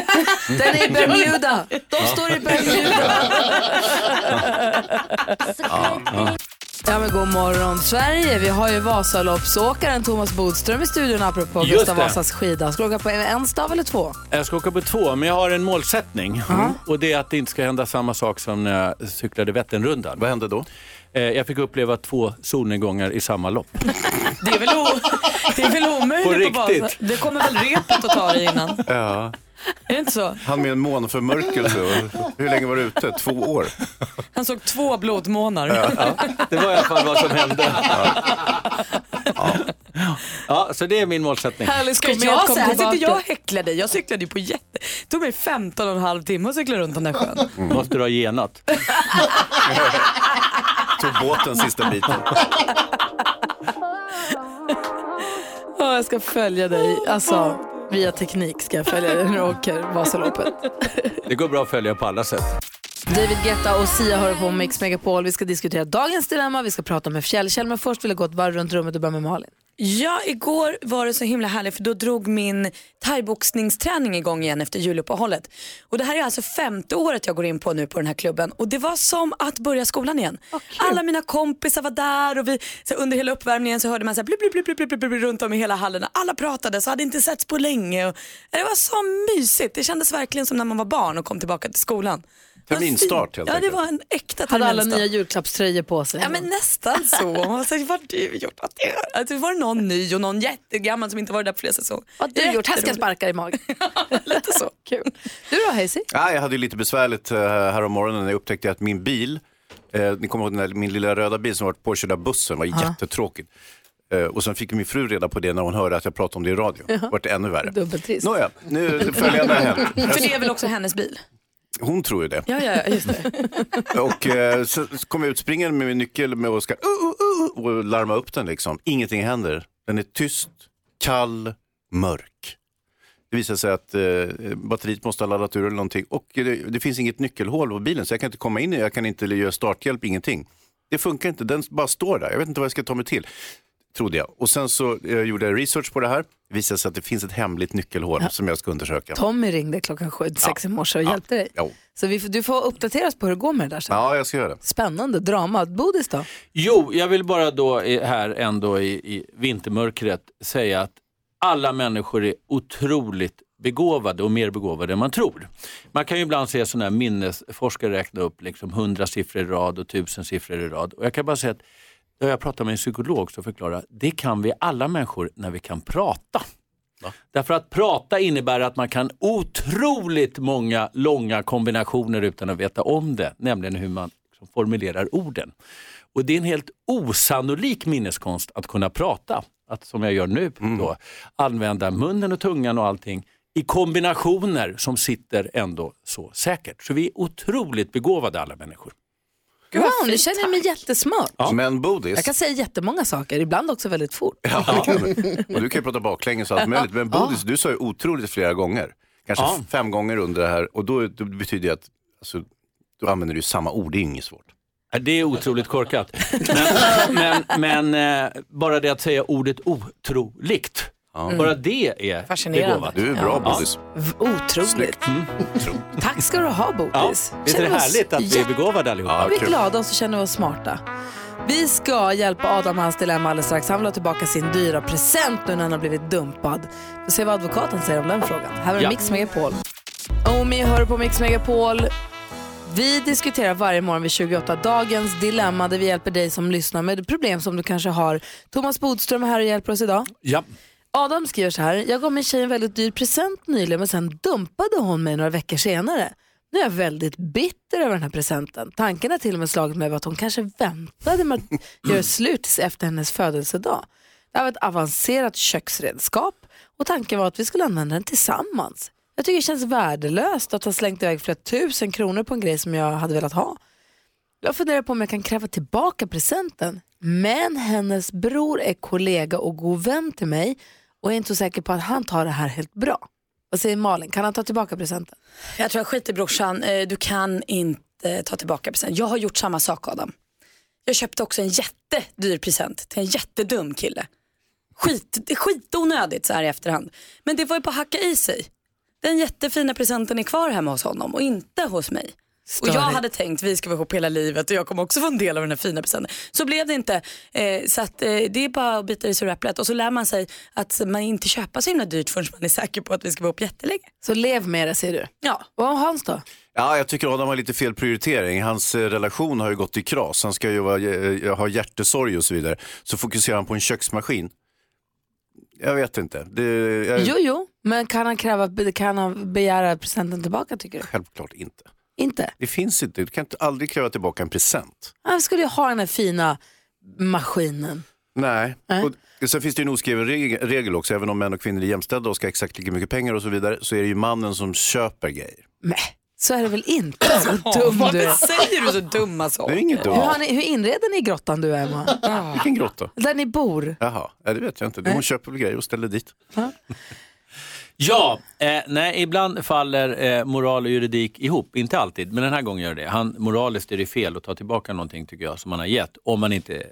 Den är i Bermuda.
Ja.
De står i Bermuda. Ja men god morgon Sverige. Vi har ju Vasaloppsåkaren Thomas Bodström i studion apropå
Just
Gustav
det.
Vasas skida. Ska du åka på en stav eller två?
Jag ska åka på två, men jag har en målsättning. Och det är att det inte ska hända samma sak som när jag cyklade Vätternrundan. Eh,
Vad hände då?
Jag fick uppleva två solnedgångar i samma lopp.
Det är väl, o... det är väl omöjligt
På
att
riktigt.
bara... Det kommer väl repet att ta dig innan?
Ja.
Är det inte så?
Han med en månförmörkelse. Hur länge var du ute? Två år?
Han såg två blodmånar.
Det var i alla fall vad som hände. Ja. Ja, så det är min målsättning.
Härligt, ska jag säga, här sitter jag och häcklar dig. Jag cyklade ju på jätte... Det tog mig 15 och en halv timme att cykla runt den där sjön.
Måste du ha genat?
Tog båten sista biten.
Ja, jag ska följa dig. Alltså, via teknik ska jag följa dig när du åker Vasaloppet.
Det går bra att följa på alla sätt.
David Guetta och Sia hör på Mix Megapol. Vi ska diskutera dagens dilemma, vi ska prata med Fjällkäll, men först vill jag gå ett varv runt rummet och börja med Malin.
Ja, igår var det så himla härligt för då drog min thaiboxningsträning igång igen efter juluppehållet. Och det här är alltså femte året jag går in på nu på den här klubben och det var som att börja skolan igen. Alla mina kompisar var där och vi, så här, under hela uppvärmningen så hörde man så här, blub, blub, blub, blub, blub, blub, runt om i hela hallen. Alla pratade så hade inte setts på länge. Och, det var så mysigt. Det kändes verkligen som när man var barn och kom tillbaka till skolan.
Terminstart helt
Ja, det
enkelt.
var en äkta
Hade alla
terminstart.
nya julklappströjor på sig?
Ja men nästan så. Man var så här, Vad har du gjort? Vad har du gjort?" Alltså, det var någon ny och någon jättegammal som inte varit där på flera säsonger.
Vad har du gjort? Här ska jag sparka i magen.
Lite så.
Kul. Du då Hazy?
Ja, jag hade ju lite besvärligt eh, här om morgonen när jag upptäckte att min bil, eh, ni kommer ihåg den där, min lilla röda bil som varit påkörd av bussen, var
Ja.
jättetråkigt. Eh, och sen fick min fru reda på det när hon hörde att jag pratade om det i radio.
Ja.
Vart det ännu värre.
Dubbeltrist.
Nåja, nu följande har hänt.
För det är väl också hennes bil?
Hon tror ju det.
Ja, ja, ja, just det.
Och eh, så så kom jag utspringande med min nyckel med och ska uh, uh, uh, och larma upp den liksom. Ingenting händer. Den är tyst, kall, mörk. Det visar sig att eh, batteriet måste ha laddat ur eller någonting och det, det finns inget nyckelhål på bilen så jag kan inte komma in i jag kan inte göra starthjälp, ingenting. Det funkar inte, den bara står där. Jag vet inte vad jag ska ta mig till. Trodde jag. Och sen så eh, gjorde jag research på det här. Det visade sig att det finns ett hemligt nyckelhål som jag ska undersöka.
Tommy ringde klockan sju, sex i morse och hjälpte dig.
Jo.
Så vi, får- du får uppdateras på hur det går med det där sen.
Ja, jag ska göra det.
Spännande drama. Bodis då?
Jo, jag vill bara då i- här ändå i, i vintermörkret säga att alla människor är otroligt begåvade och mer begåvade än man tror. Man kan ju ibland se sådana här minnesforskare räkna upp liksom hundra siffror i rad och tusen siffror i rad. Och jag kan bara säga att när jag pratade med en psykolog som förklarade det kan vi alla människor när vi kan prata. Därför att prata innebär att man kan otroligt många långa kombinationer utan att veta om det, nämligen hur man liksom formulerar orden. Och det är en helt osannolik minneskonst att kunna prata, att, som jag gör nu, då, använda munnen och tungan och allting i kombinationer som sitter ändå så säkert. Så vi är otroligt begåvade alla människor.
Wow, nu känner jag mig jättesmart.
Men Bodis.
Jag kan säga jättemånga saker, ibland också väldigt fort.
Ja, och du kan ju prata baklänges och allt möjligt. Men Bodis, du sa ju otroligt flera gånger. Kanske
Ja.
f- fem gånger under det här. Och då, då betyder det att alltså, då använder du samma ord. Det är inget svårt.
Ja, Äh, Det är otroligt korkat. Men, men, men eh, bara det att säga ordet otroligt
Mm.
Bara det är
Fascinerande.
begåvat.
Du är bra,
Ja. Mm.
Bodis. V- Otroligt. Tack ska du ha,
Ja,
Bodis.
visst är det
Känner oss
härligt att vi är
jätte-
begåvade allihopa?
vi är glada och så känner vi oss smarta. Vi ska hjälpa Adam med hans dilemma alldeles strax. Han vill ha tillbaka sin dyra present nu när han har blivit dumpad. Vi får se vad advokaten säger om den frågan. Här är
Ja.
Mix Megapol. Omi hör på Mix Megapol. Vi diskuterar varje morgon vid 28 dagens dilemma där vi hjälper dig som lyssnar med problem som du kanske har. Thomas Bodström är här och hjälper oss idag.
Ja.
Adam skriver så här, jag gav min tjej en väldigt dyr present nyligen men sen dumpade hon mig några veckor senare. Nu är jag väldigt bitter över den här presenten. Tanken har till och med slagit mig över att hon kanske väntade med att göra slut tills efter hennes födelsedag. Det här var ett avancerat köksredskap och tanken var att vi skulle använda den tillsammans. Jag tycker det känns värdelöst att ha slängt iväg flera tusen kronor på en grej som jag hade velat ha. Jag funderar på om jag kan kräva tillbaka presenten. Men hennes bror är kollega och god vän till mig och är inte så säker på att han tar det här helt bra. Vad säger Malin, kan han ta tillbaka presenten?
Jag tror jag skiter i brorsan. Eh, Du kan inte ta tillbaka presenten. Jag har gjort samma sak Adam. Jag köpte också en jättedyr present till en jättedum kille. Skit, det är skitonödigt så här i efterhand. Men det var ju bara att hacka i sig. Den jättefina presenten är kvar hemma hos honom och inte hos mig. Och jag
Störigt.
hade tänkt vi ska vara ihop hela livet och jag kommer också få en del av den här fina presenten. Så blev det inte. Eh, så att, eh, det är bara att bita i sura äpplet. Och så lär man sig att man inte köper så himla dyrt förrän man är säker på att vi ska vara ihop jättelänge.
Så lev med det säger du.
Ja.
Och Hans då?
Ja, jag tycker Adam har lite fel prioritering. Hans eh, relation har ju gått i kras. Han ska ju vara, eh, ha hjärtesorg och så vidare. Så fokuserar han på en köksmaskin. Jag vet inte. Det, jag,
Jo, jo, men kan han, kräva, kan han begära presenten tillbaka tycker du?
Självklart inte.
Inte?
Det finns inte. Du kan inte, aldrig kräva tillbaka en present.
Han skulle ju ha den här fina maskinen.
Nej. Och sen finns det ju en oskriven reg- regel också. Även om män och kvinnor är jämställda och ska ha exakt lika mycket pengar och så vidare så är det ju mannen som köper grejer.
Nej, så är det väl inte? Så dum du är.
Varför säger du så dumma saker?
Det är inget dumt.
Hur, har ni, hur inreder ni grottan du Emma?
Ah.
Vilken grotta.
Där ni bor?
Jaha, ja, det vet jag inte. Hon köper väl grejer och ställer dit.
Ja, eh, nej, ibland faller eh, moral och juridik ihop. Inte alltid, men den här gången gör det Han, Moraliskt är det fel att ta tillbaka någonting tycker jag som man har gett. Om man inte eh,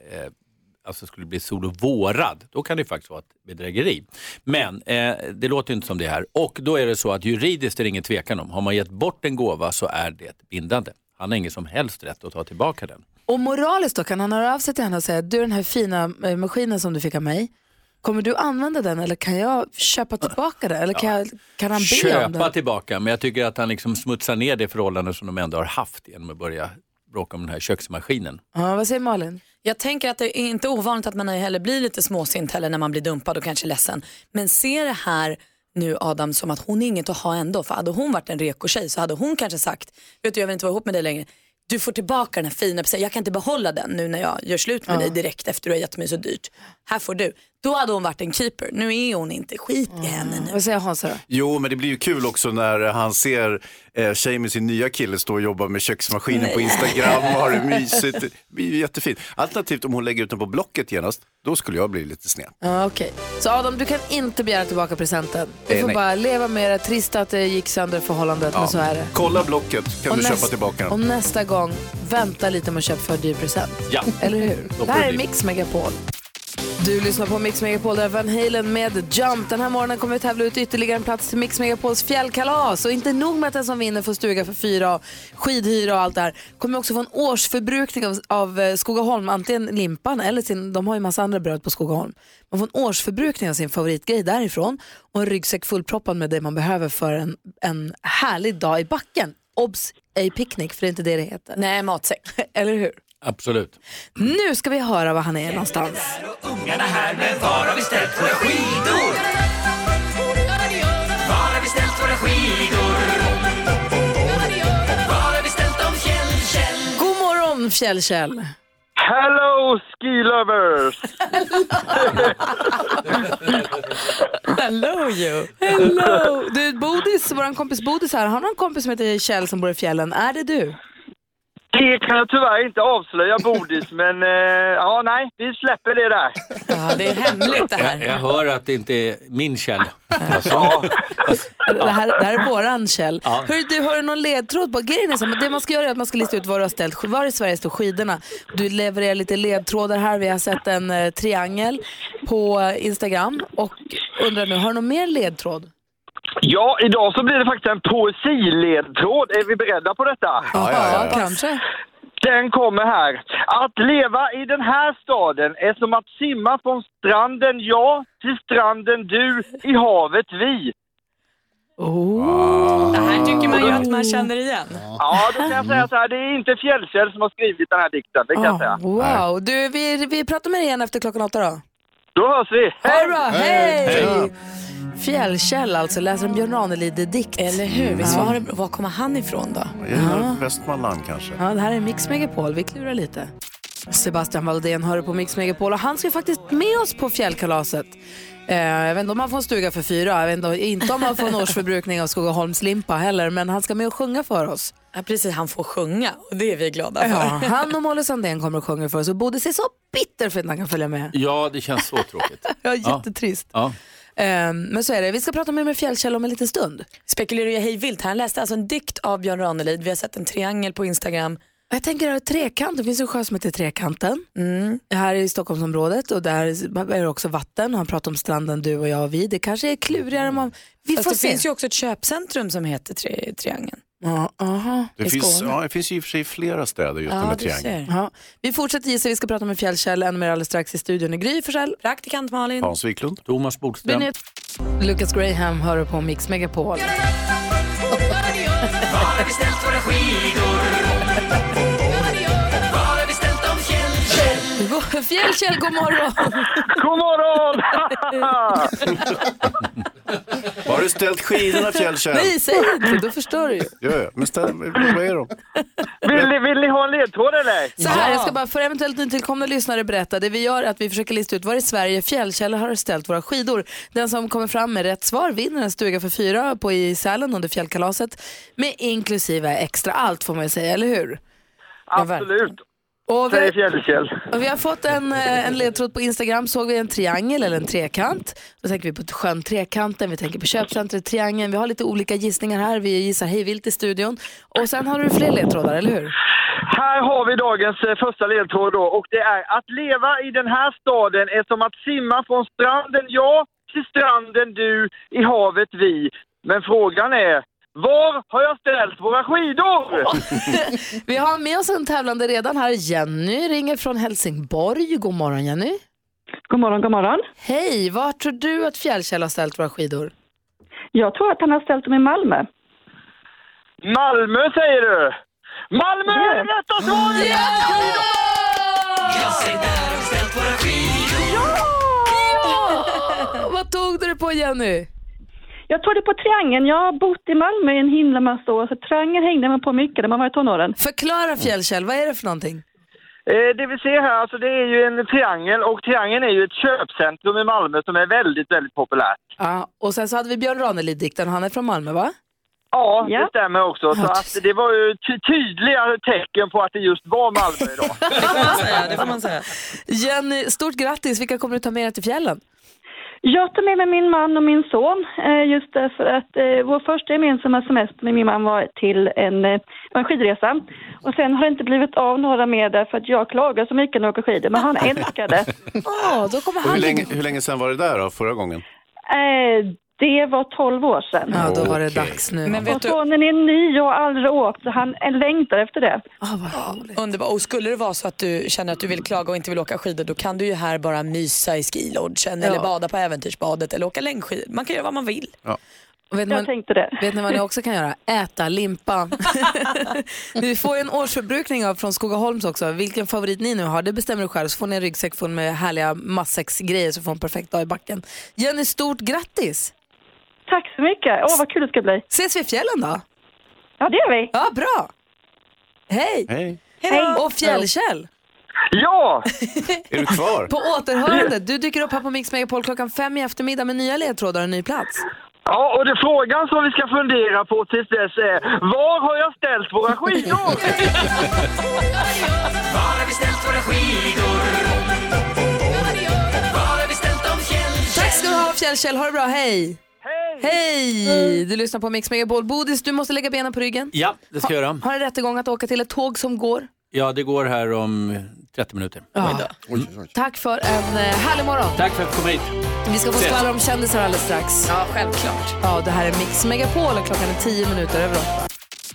alltså skulle bli sol och vårad, då kan det ju faktiskt vara ett bedrägeri. Men eh, det låter ju inte som det här. Och då är det så att juridiskt är det ingen tvekan om. Har man gett bort en gåva så är det bindande. Han har ingen som helst rätt att ta tillbaka den.
Och moraliskt då, kan han höra av sig till henne och säga, du den här fina eh, maskinen som du fick av mig, kommer du använda den eller kan jag köpa tillbaka den? Eller kan, jag, kan han be om
Köpa
den?
tillbaka, men jag tycker att han liksom smutsar ner det förhållande som de ändå har haft genom att börja bråka om den här köksmaskinen.
Ja, vad säger Malin?
Jag tänker att det är inte ovanligt att man heller blir lite småsint heller när man blir dumpad och kanske ledsen. Men se det här nu Adam som att hon är inget att ha ändå. För hade hon varit en reko tjej så hade hon kanske sagt, vet du jag vill inte vara ihop med dig längre. Du får tillbaka den här fina presenten, jag kan inte behålla den nu när jag gör slut med dig direkt efter du har gett mig så dyrt. Här får du. Då hade hon varit en keeper, nu är hon inte, skit i henne nu.
Vad säger Hans då?
Jo, men det blir ju kul också när han ser eh, tjej med sin nya kille stå och jobba med köksmaskinen på Instagram och har det mysigt. Det blir ju jättefint. Alternativt om hon lägger ut den på Blocket genast, då skulle jag bli lite sned.
Ja, Okej, så Adam du kan inte begära tillbaka presenten. Du
Eh,
får
nej.
bara leva med det, trist att det gick sönder förhållandet, men så är det.
Kolla Blocket, kan
Och
du köpa
näst-
tillbaka
Och
den.
nästa gång, vänta lite med att köpa för dyr present.
Ja.
Eller hur?
Då får
Det här
det
är
bli.
Mix Megapol. Du lyssnar på Mix Megapol, där Van Halen med Jump. Den här morgonen kommer vi tävla ut ytterligare en plats till Mix Megapols fjällkalas. Och inte nog med att den som vinner får stuga för fyra, och skidhyra och allt det här. Kommer också få en årsförbrukning av, av eh, Skogaholm, antingen limpan eller sin, de har ju massa andra bröd på Skogaholm. Man får en årsförbrukning av sin favoritgrej därifrån och en ryggsäck fullproppad med det man behöver för en, en härlig dag i backen. Obs! Ej picknick, för det är inte det det heter.
Nej, matsäck.
eller hur?
Absolut.
Nu ska vi höra var han är någonstans.
Ungarna här, men var har vi ställt våra skidor? Var har vi ställt våra skidor? Var har vi ställt dem, fjäll, fjäll?
God morgon Fjäll-Kjell!
Hello ski lovers!
Hello you! Hello! Du, Bodis, vår kompis Bodis här, han har en kompis som heter Kjell som bor i fjällen. Är det du?
Det kan jag tyvärr inte avslöja, Bodis, men eh, ja, nej, vi släpper det där.
Ja, det är hemligt det
Jag, jag hör att det inte är min källa. Alltså.
Det här, det här är våran Kjell.
Ja.
Hör du, har du någon ledtråd? På? Grejen är så, här, men det man ska göra är att man ska lista ut var du har ställt, var i Sverige står skidorna. Du levererar lite ledtrådar här. Vi har sett en eh, triangel på eh, Instagram och undrar nu, har du någon mer ledtråd?
Ja, idag så blir det faktiskt en poesiledtråd. Är vi beredda på detta?
kanske.
Den kommer här. Att leva i den här staden är som att simma från stranden jag till stranden du, i havet vi.
Oh.
Det här tycker man ju att man känner igen.
Ja, då kan jag säga så här, det är inte Fjällkäll som har skrivit den här dikten, det kan jag säga.
Ah, Wow, du, vi, vi pratar med dig igen efter klockan åtta då.
Då hörs vi!
Hej då, hej! Fjällkäll alltså, läser en Björn Ranelid-dikt. Eller hur,
visst var
var kommer han ifrån då?
Jag gillar Västmanland kanske.
Ja, det här är Mix Megapol. Vi klurar lite. Sebastian Valdén hör på Mix Megapol och han ska faktiskt med oss på fjällkalaset. Eh, jag vet inte om han får en stuga för fyra, jag vet inte, om- inte om han får en årsförbrukning av Skogaholmslimpa heller, men han ska med och sjunga för oss.
Ja, precis, han får sjunga och det är vi glada för.
Ja, han och Molly Sandén kommer och sjunger för oss och Bodis är så bitter för att han kan följa med.
Ja, det känns så tråkigt.
Ja, jättetrist.
Ja.
Eh, men så är det. Vi ska prata mer med Fjällkäll om en liten stund.
Spekulerar jag hej vilt här. Han läste alltså en dikt av Björn Ranelid. Vi har sett en triangel på Instagram.
Jag tänker att Trekanten, det finns en sjö som heter Trekanten. Här i Stockholmsområdet och där är det också vatten. Han pratar om stranden du och jag och vi. Det kanske är klurigare än man... Vi
Mm. Fast
får
det
se.
finns ju också ett köpcentrum som heter tri Triangeln.
Ja, aha.
Det, finns, ja, det finns ju i och för sig flera städer just ja, med triangeln.
Ja. Vi fortsätter gissa, vi ska prata med Fjällkäll ännu mer alldeles strax i studion. i Gry Forssell.
Praktikant Malin.
Hans Wiklund. Thomas
Vi är
Bodström.
nu- Lucas Graham hör på Mix Megapol.
Var har vi ställt våra skidor? Var har vi ställt dem fjäll?
God- Fjällkäll, god morgon!
God morgon!
Var har du ställt skidorna Fjällkäll?
Nej, säg inte, då förstör du ju.
Ja, ja, men ställ, vad är de?
Vill ni, vill ni ha en ledtråd eller?
Så här, jag ska bara för eventuellt nytillkomna lyssnare berätta. Det vi gör är att vi försöker lista ut var i Sverige fjällkällor har ställt våra skidor. Den som kommer fram med rätt svar vinner en stuga för fyra på i Sälen under fjällkalaset. Med inklusive extra allt får man ju säga, eller hur?
Absolut.
Och
Säger Fjällkäll.
Och vi har fått en, eh, en ledtråd på Instagram. Såg vi en triangel eller en trekant? Då tänker vi på sjön Trekanten, vi tänker på köpcentret Triangeln. Vi har lite olika gissningar här. Vi gissar hejvilt i studion. Och sen har du fler ledtrådar, eller hur?
Här har vi dagens eh, första ledtråd då och det är att leva i den här staden är som att simma från stranden jag till stranden du i havet vi. Men frågan är, var har jag ställt våra skidor?
Vi har med oss en tävlande redan här. Jenny ringer från Helsingborg. God morgon Jenny.
God morgon, god morgon.
Hej, var tror du att Fjällkäll har ställt våra skidor?
Jag tror att han har ställt dem i Malmö.
Malmö säger du? Malmö är det rätta svaret!
Jag säger där har vi ställt våra skidor.
Ja! Vad tog du det på Jenny?
Jag tog det på Triangeln. Jag har bott i Malmö i en himla massa år, så Triangeln hängde man på mycket när man var i tonåren.
Förklara Fjällkäll, vad är det för någonting?
Eh, Det vi ser här alltså det är ju en triangel och triangeln är ju ett köpcentrum i Malmö som är väldigt, väldigt populärt.
Ja, och sen så hade vi Björn Ranelid-dikten, han är från Malmö va?
Ja, det stämmer också. Så att det var ju ty- tydliga tecken på att det just var Malmö idag.
det får man säga.
Jenny, stort grattis, vilka kommer du ta med dig till fjällen?
Jag tar med mig min man och min son eh, just därför att eh, vår första gemensamma semester med min man var till en, eh, var en skidresa. Och sen har det inte blivit av några mer därför att jag klagar så mycket när jag åker skidor, men han älskade.
Ja, då kommer
Och hur, länge, hur länge sedan var det där då, förra gången?
Eh, det var 12 år sedan.
Ja, då var det dags nu.
och sonen är ny och har aldrig åkt, så han längtar efter det.
Ah,
Underbart. Och skulle det vara så att du känner att du vill klaga och inte vill åka skidor då kan du ju här bara mysa i skilodgen
Ja.
eller bada på äventyrsbadet eller åka längdskidor. Man kan göra vad man vill.
Och vet ni
Jag
vad-
tänkte det.
Vet ni vad ni också kan göra? Äta limpa. ni får ju en årsförbrukning av från Skogaholms också. Vilken favorit ni nu har, det bestämmer du själv. Så får ni en ryggsäck full med härliga matsäcksgrejer så får en perfekt dag i backen. Jenny, stort grattis!
Tack så mycket. Åh, vad kul det ska bli.
Ses vi i fjällen då?
Ja, det gör vi.
Ja, bra! Hej!
Hej!
Hej. Och Fjällkäll!
Ja!
Är du kvar?
På återhörande, du dyker upp här på Mix Megapol klockan fem i eftermiddag med nya ledtrådar och en ny plats.
Ja, och det frågan som vi ska fundera på tills dess är var har jag ställt våra skidor?
Var har vi ställt våra skidor? Var har vi ställt dem fjäll?
Tack ska du ha Fjällkäll, ha det bra, hej! Hej!
Mm.
Du lyssnar på Mix Megapol. Bodis, du måste lägga benen på ryggen.
Ja, det ska jag göra.
Har en rättegång att åka till, ett tåg som går.
Ja, det går här om 30 minuter.
Tack för en eh, härlig morgon.
Tack för att du kom hit.
Vi ska få
Ses.
skvallra om kändisar alldeles strax. Ja, självklart. Ja, det här är Mix Megapol och klockan är 10 minuter över åtta.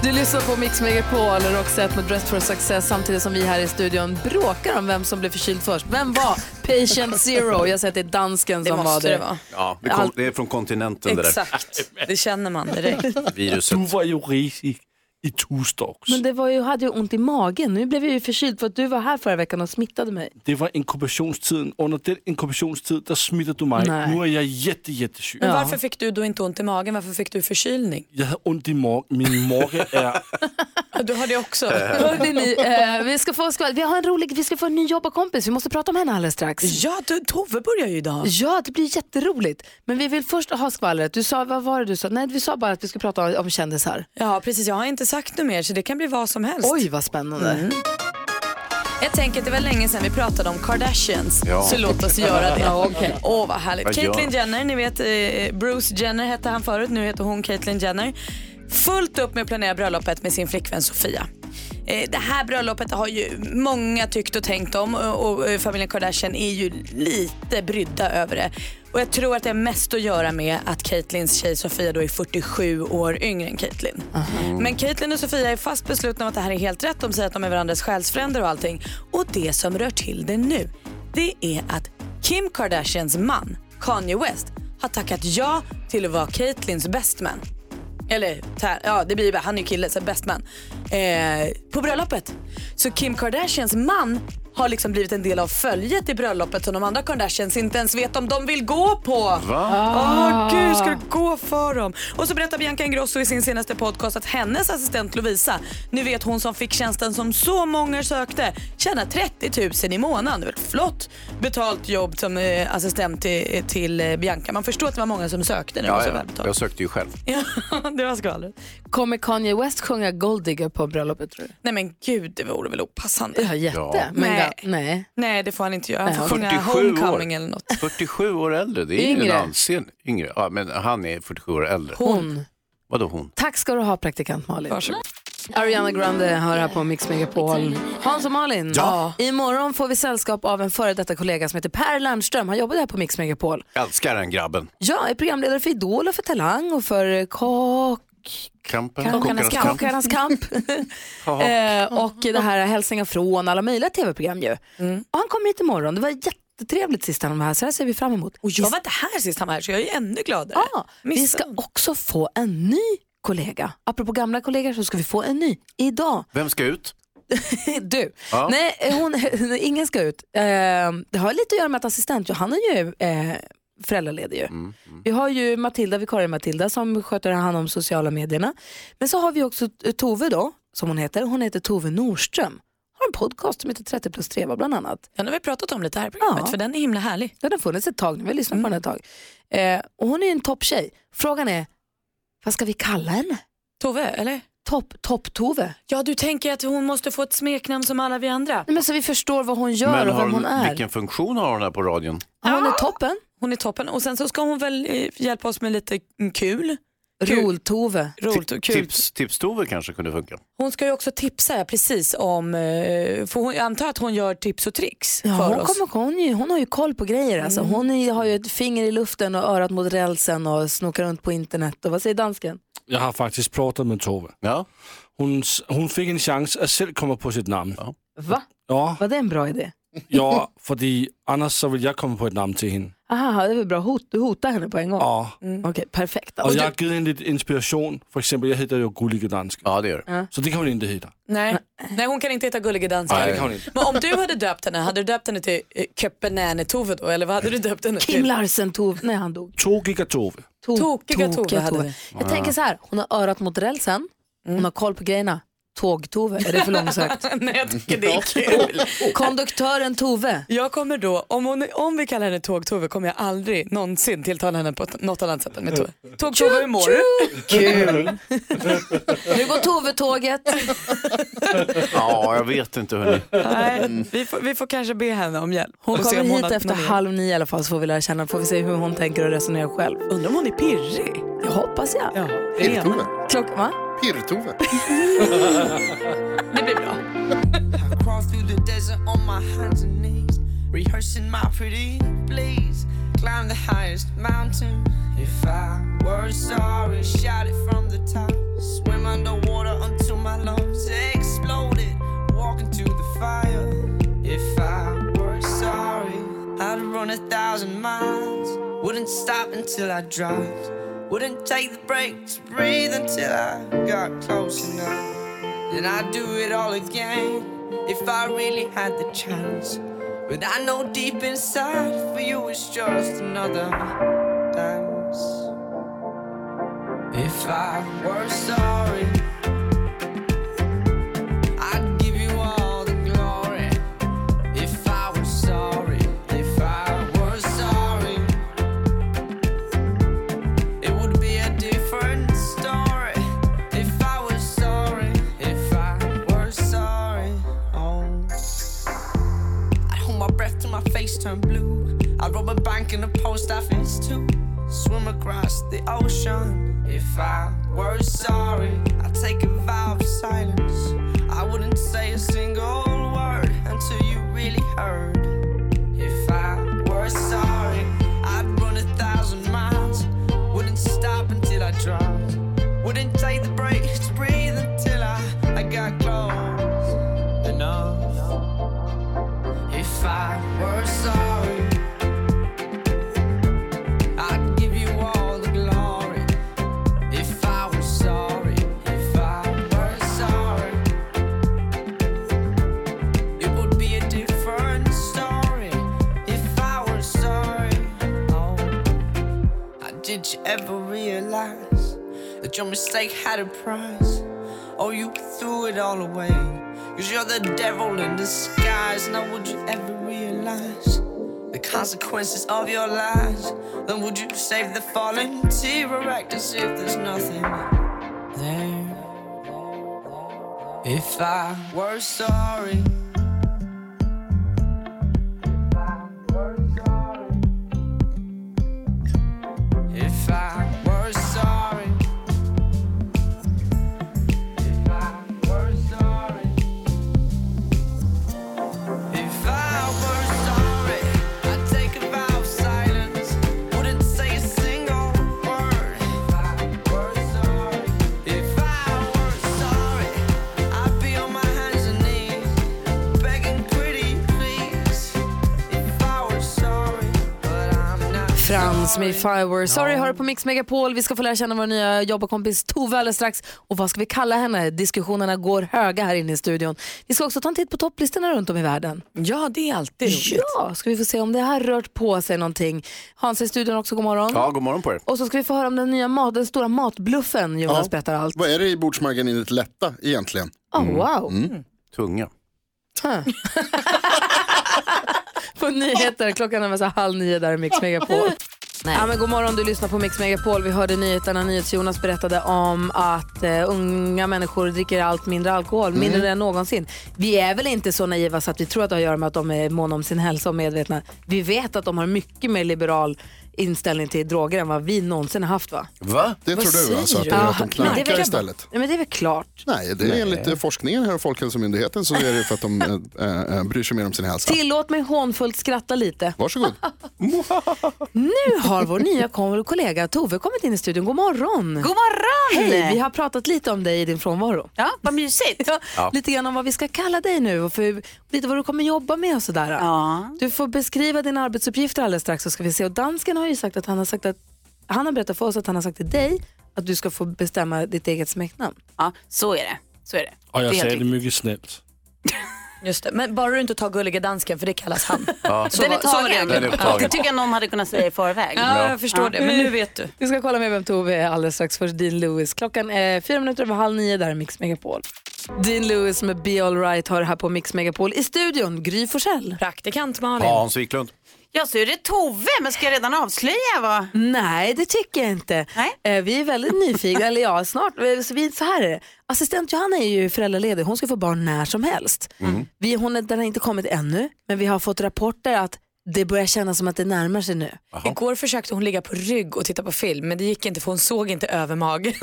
Du lyssnar på Mix Megapol och Roxette med Dress for Success samtidigt som vi här i studion bråkar om vem som blev förkyld först. Vem var patient zero? Jag säger att det är dansken
Det
som var
måste
det.
det vara.
Ja, det, kom, det är från kontinenten
Äh,
Exakt, det känner man direkt.
det där viruset.
Du var ju risig i torsdags.
Men det var ju, hade ju ont i magen. Nu blev jag ju förkyld för att du var här förra veckan och smittade mig.
Det var inkubationstiden. Under den inkubationstid där smittade du mig.
Nej.
Nu är jag jätte, jättesyg.
Men varför fick du då inte ont i magen? Varför fick du förkylning?
Jag har ont i magen. Min mage är...
Du har det också.
Hörde ni, eh, vi ska få skvall. Vi har en rolig, vi ska få en ny jobbarkompis. Vi måste prata om henne alldeles strax.
Ja, du, Tove börjar ju idag.
Ja, det blir jätteroligt. Men vi vill först ha skvallret. Du sa, vad var det du sa? Nej, vi sa bara att vi ska prata om, om kändisar.
Ja, precis. Jag har inte sagt något mer så det kan bli vad som helst.
Oj, vad Mm. spännande.
Jag tänker att det var länge sedan vi pratade om Kardashians,
Ja.
så låt oss göra det.
Ja, okej.
Åh, vad härligt.
Vad gör-
Caitlyn Jenner, ni vet eh, Bruce Jenner hette han förut, nu heter hon Caitlyn Jenner. Fullt upp med att planera bröllopet med sin flickvän Sofia. Eh, Det här bröllopet har ju många tyckt och tänkt om och och, eh, familjen Kardashian är ju lite brydda över det. Och jag tror att det har mest att göra med att Caitlyns tjej Sofia då är 47 år yngre än Caitlyn.
Mm.
Men Caitlyn och Sofia är fast beslutna om att det här är helt rätt. De säger att de är varandras själsfränder och allting. Och det som rör till det nu, det är att Kim Kardashians man, Kanye West, har tackat ja till att vara Caitlyns best man. Eller, tär, ja det blir ju, han är ju kille, så best man. Eh, på bröllopet. Så Kim Kardashians man har liksom blivit en del av följet i bröllopet som de andra Kardashians inte ens vet om de vill gå på.
Va?
Åh, gud, ska det gå för dem? Och så berättar Bianca Ingrosso i sin senaste podcast att hennes assistent Lovisa, nu vet hon som fick tjänsten som så många sökte, tjänar 30 000 i månaden. Det var ett flott betalt jobb som eh, assistent till, till eh, Bianca. Man förstår att det var många som sökte när det var
Ja,
så
ja.
väl.
Jag sökte ju själv.
Ja, det var skvallret.
Kommer Kanye West sjunga Golddigger på bröllopet tror du?
Nej men gud, det vore väl opassande.
Ja, jätte.
Ja.
Men
Nej.
ga- nej.
Nej, det får han inte göra. Han får sjunga
47
Homecoming
år.
eller något.
47 år äldre, det är
Yngre.
en ansen yngre. Ja, men han är 47 år äldre.
Hon.
Vadå hon?
Tack ska du ha praktikant Malin. Ariana Grande hör här på Mix Megapol. Hans och Malin,
Ja.
imorgon får vi sällskap av en före detta kollega som heter Per Lernström. Han jobbade här på Mix Megapol.
Älskar den grabben.
Jag är programledare för Idol och för Talang och för eh, Kock...
Kampen.
Kockarnas kamp. Kockarnas kamp. eh, och det här är hälsningar från alla möjliga tv-program ju. Och han kommer hit imorgon. Det var jättetrevligt sist han var här, så det här ser vi fram emot.
Och jag var inte här sist han var här så jag är ännu gladare.
Ja, Ah, vi ska också få en ny kollega. Apropå gamla kollegor så ska vi få en ny idag.
Vem ska ut?
Du,
Ja.
nej, hon, ingen ska ut. Eh, det har lite att göra med att assistent Johanna är ju eh, föräldraledig. Ju. Vi har ju Matilda, vikarie Matilda, som sköter hand om sociala medierna. Men så har vi också eh, Tove då, som hon heter. Hon heter Tove Norström. Har en podcast som heter 30 plus 3 bland annat.
Den har vi pratat om lite här i programmet för den är himla härlig. Mm.
Den har funnits ett tag nu, vi har lyssnat på den ett tag. Eh, och hon är ju en topptjej. Frågan är, vad ska vi kalla henne?
Tove, eller?
Topp-Tove.
Ja, du tänker att hon måste få ett smeknamn som alla vi andra.
Nej, men så vi förstår vad hon gör
Men
och
har
vem hon är.
vilken funktion har hon här på radion?
Hon är toppen.
Hon är toppen och sen så ska hon väl eh, hjälpa oss med lite mm, kul. Kul.
Rol-Tove.
Roligt och kul.
Tips, tips-Tove kanske kunde funka.
Hon ska ju också tipsa ja, precis om, eh, för hon, jag antar att hon gör tips och tricks
Ja,
för
hon,
oss. Mm.
kommer, hon, är ju- hon har ju koll på grejer. Alltså. Hon är, har ju ett finger i luften och örat mot rälsen och snokar runt på internet. Och vad säger dansken?
Jag har faktiskt pratat med Tove.
Ja.
Hon, s- hon fick en chans att själv komma på sitt namn. Ja,
Va?
ja,
Var det en bra idé?
för annars så vill jag komma på ett namn till henne.
Aha, det var bra. Hot, du hotar henne på en gång?
Ja.
Mm. Okej, perfekt.
Och jag har givit henne lite inspiration. För exempel, jag heter ju Gullige Dansk.
Ja, det gör
du. Ja.
Så det kan hon inte heta.
Nej. Nej, hon kan inte heta Gullige Dansken.
Nej, det kan hon inte.
Men om du hade döpt henne, hade du döpt henne till eh, Köpenäne-Tove då? Eller vad hade du döpt henne till?
Kim Larsen-Tove, nej han dog.
Tokiga Tove.
To-
Tokiga Tove
Tokiga
hade
Tove.
vi. Mm.
Jag tänker så här, hon har örat mot rälsen, hon har koll på grejerna. Tåg-Tove, är det för långsökt?
Nej, jag tycker det är kul.
Konduktören Tove.
Jag kommer då, om, hon, om vi kallar henne Tåg-Tove kommer jag aldrig någonsin tilltala henne på t- något annat sätt än med Tove. Tåg-Tove, hur mår du?
Kul. Nu går Tove-tåget.
Ja, jag vet inte hörni.
Nej, vi, får, vi får kanske be henne om hjälp.
Hon
Och se
kommer
om
hit
har
efter
någon hjälp.
halv nio i alla fall så får vi lära känna, får vi se hur hon tänker och resonerar själv.
Undrar om hon är pirrig?
Jag hoppas jag. Ja,
Pirr-Tove.
Klockan, va?
Pirr-Tove.
Det blir bra.
crawl through the desert on my hands and knees, rehearsing my pretty please. Climb the highest mountain. If I were sorry, shout it from the top. Swim underwater until my lungs exploded. Walk into the fire. If I were sorry, I'd run a thousand miles. Wouldn't stop until I dropped. Wouldn't take the break to breathe until I got close enough. Then I'd do it all again if I really had the chance. But I know deep inside for you it's just another dance. If I were sorry, I'd give you all the glory. If I were sorry, if I were sorry, it would be a different story. If I was sorry, if I were sorry, oh. I'd hold my breath till my face turned blue. I'd rob a bank in a post office too. Swim across the ocean. If I were sorry, I'd take a vow of silence. I wouldn't say a single word until you really heard. If I were sorry, I'd run a thousand miles. Wouldn't stop until I dropped. Wouldn't take the break to breathe until I, I got close enough. If I were sorry, I'd give you all the glory. If I were sorry, if I were sorry, it would be a different story. If I were sorry, oh. Now, Did you ever realize that your mistake had a price? Oh, you threw it all away. Cause you're the devil in disguise. Now, would you ever realize the consequences of your lies? Then, would you save the fallen T Rex as if there's nothing there? If I were sorry. If I were sorry. If I were sorry. If I were sorry, I'd take a vow of silence. Wouldn't say a single word. If I were sorry. If I were sorry, I'd be on my hands and knees, begging pretty please. If I were sorry, but I'm not.
Frans med If I were sorry har du på Mix Megapol. Vi ska få lära känna vår nya jobbarkompis Tove alldeles strax. Och vad ska vi kalla henne? Diskussionerna går höga här inne i studion. Vi ska också ta en titt på topplistorna runt om i världen.
Ja, det är alltid roligt.
Ja, ska vi få se om det här rört på sig någonting. Hans är i studion också, god morgon.
Ja, god morgon på er.
Och så ska vi få höra om den nya mat, den stora matbluffen Jonas berättar allt.
Vad är det i bordsmargarinet lätta egentligen? Mm.
Oh, wow.
Mm. Tunga.
Huh. på nyheter, klockan är så halv nio där i Mix Megapol. Ja, men god morgon, du lyssnar på Mix Megapol. Vi hörde nyheterna. NyhetsJonas berättade om att eh, unga människor dricker allt mindre alkohol, mindre än någonsin. Vi är väl inte så naiva så att vi tror att det har att göra med att de är måna om sin hälsa och medvetna. Vi vet att de har mycket mer liberal inställning till droger än vad vi någonsin har haft va?
Va? Det
Vad
tror du alltså? Att det
säger
är
du?
att de
Ja, men det är
knarkar
väl-
istället?
Nej men det är väl klart.
Nej, det är enligt forskningen här och Folkhälsomyndigheten så är det för att de äh, bryr sig mer om sin hälsa.
Tillåt mig hånfullt skratta lite.
Varsågod.
Nu har vår nya kom- kollega Tove kommit in i studion. God morgon! God
morgon!
Hej! Vi har pratat lite om dig i din frånvaro.
Ja, vad mysigt.
Ja. Lite grann om vad vi ska kalla dig nu och för, lite vad du kommer jobba med och sådär.
Ja.
Du får beskriva dina arbetsuppgifter alldeles strax så ska vi se. Och dansken har ju sagt att han har sagt att han har berättat för oss att han har sagt till dig att du ska få bestämma ditt eget smeknamn.
Ja, så är det. Så är det.
Och jag
Det är
säger
helt
det mycket snällt.
Just det. Men bara du inte tar gulliga dansken för det kallas han.
Ja.
Så
den är
var- så var
tagen.
det.
Den är upptagen. Det tycker jag någon hade kunnat säga i förväg.
Ja, jag förstår det. Men nu vet du.
Vi ska kolla med vem Tove är alldeles strax. Först Dean Lewis. Klockan är fyra minuter över halv nio där i Mix Megapol. Dean Lewis med Be All Right har det här på Mix Megapol. I studion, Gry Forssell.
Praktikant Malin.
Ja, Hans Wiklund.
Jag ser det Tove, men ska jag redan avslöja vad?
Nej, det tycker jag inte. Eh, Vi är väldigt nyfikna, eller ja, snart. Eh, Så, vi, så här är det. Assistent Johanna är ju föräldraledig, hon ska få barn när som helst. Vi, hon är, den har inte kommit ännu, men vi har fått rapporter att det börjar kännas som att det närmar sig nu.
Igår försökte hon ligga på rygg och titta på film men det gick inte för hon såg inte över magen.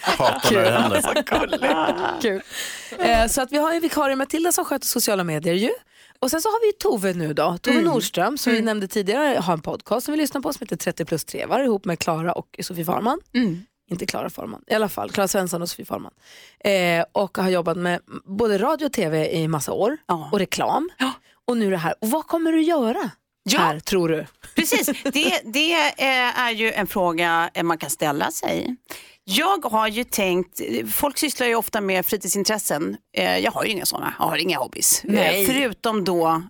Hatar när det händer.
Kul. Eh, Så att vi har ju vikarie Matilda som sköter sociala medier ju. Och sen så har vi ju Tove nu då, Tove
Mm.
Nordström som vi nämnde tidigare har en podcast som vi lyssnar på som heter 30 plus trevar ihop med Klara och Sofie Farman.
Mm.
Inte Klara Farman, i alla fall Klara Svensson och Sofie Farman. Eh, och har jobbat med både radio och tv i massa år och reklam. Och nu det här, och vad kommer du göra här tror du?
Precis, det, det eh, är ju en fråga eh, man kan ställa sig. Jag har ju tänkt, folk sysslar ju ofta med fritidsintressen. Eh, Jag har ju inga sådana, jag har inga hobbys. Eh,
Nej.
Förutom då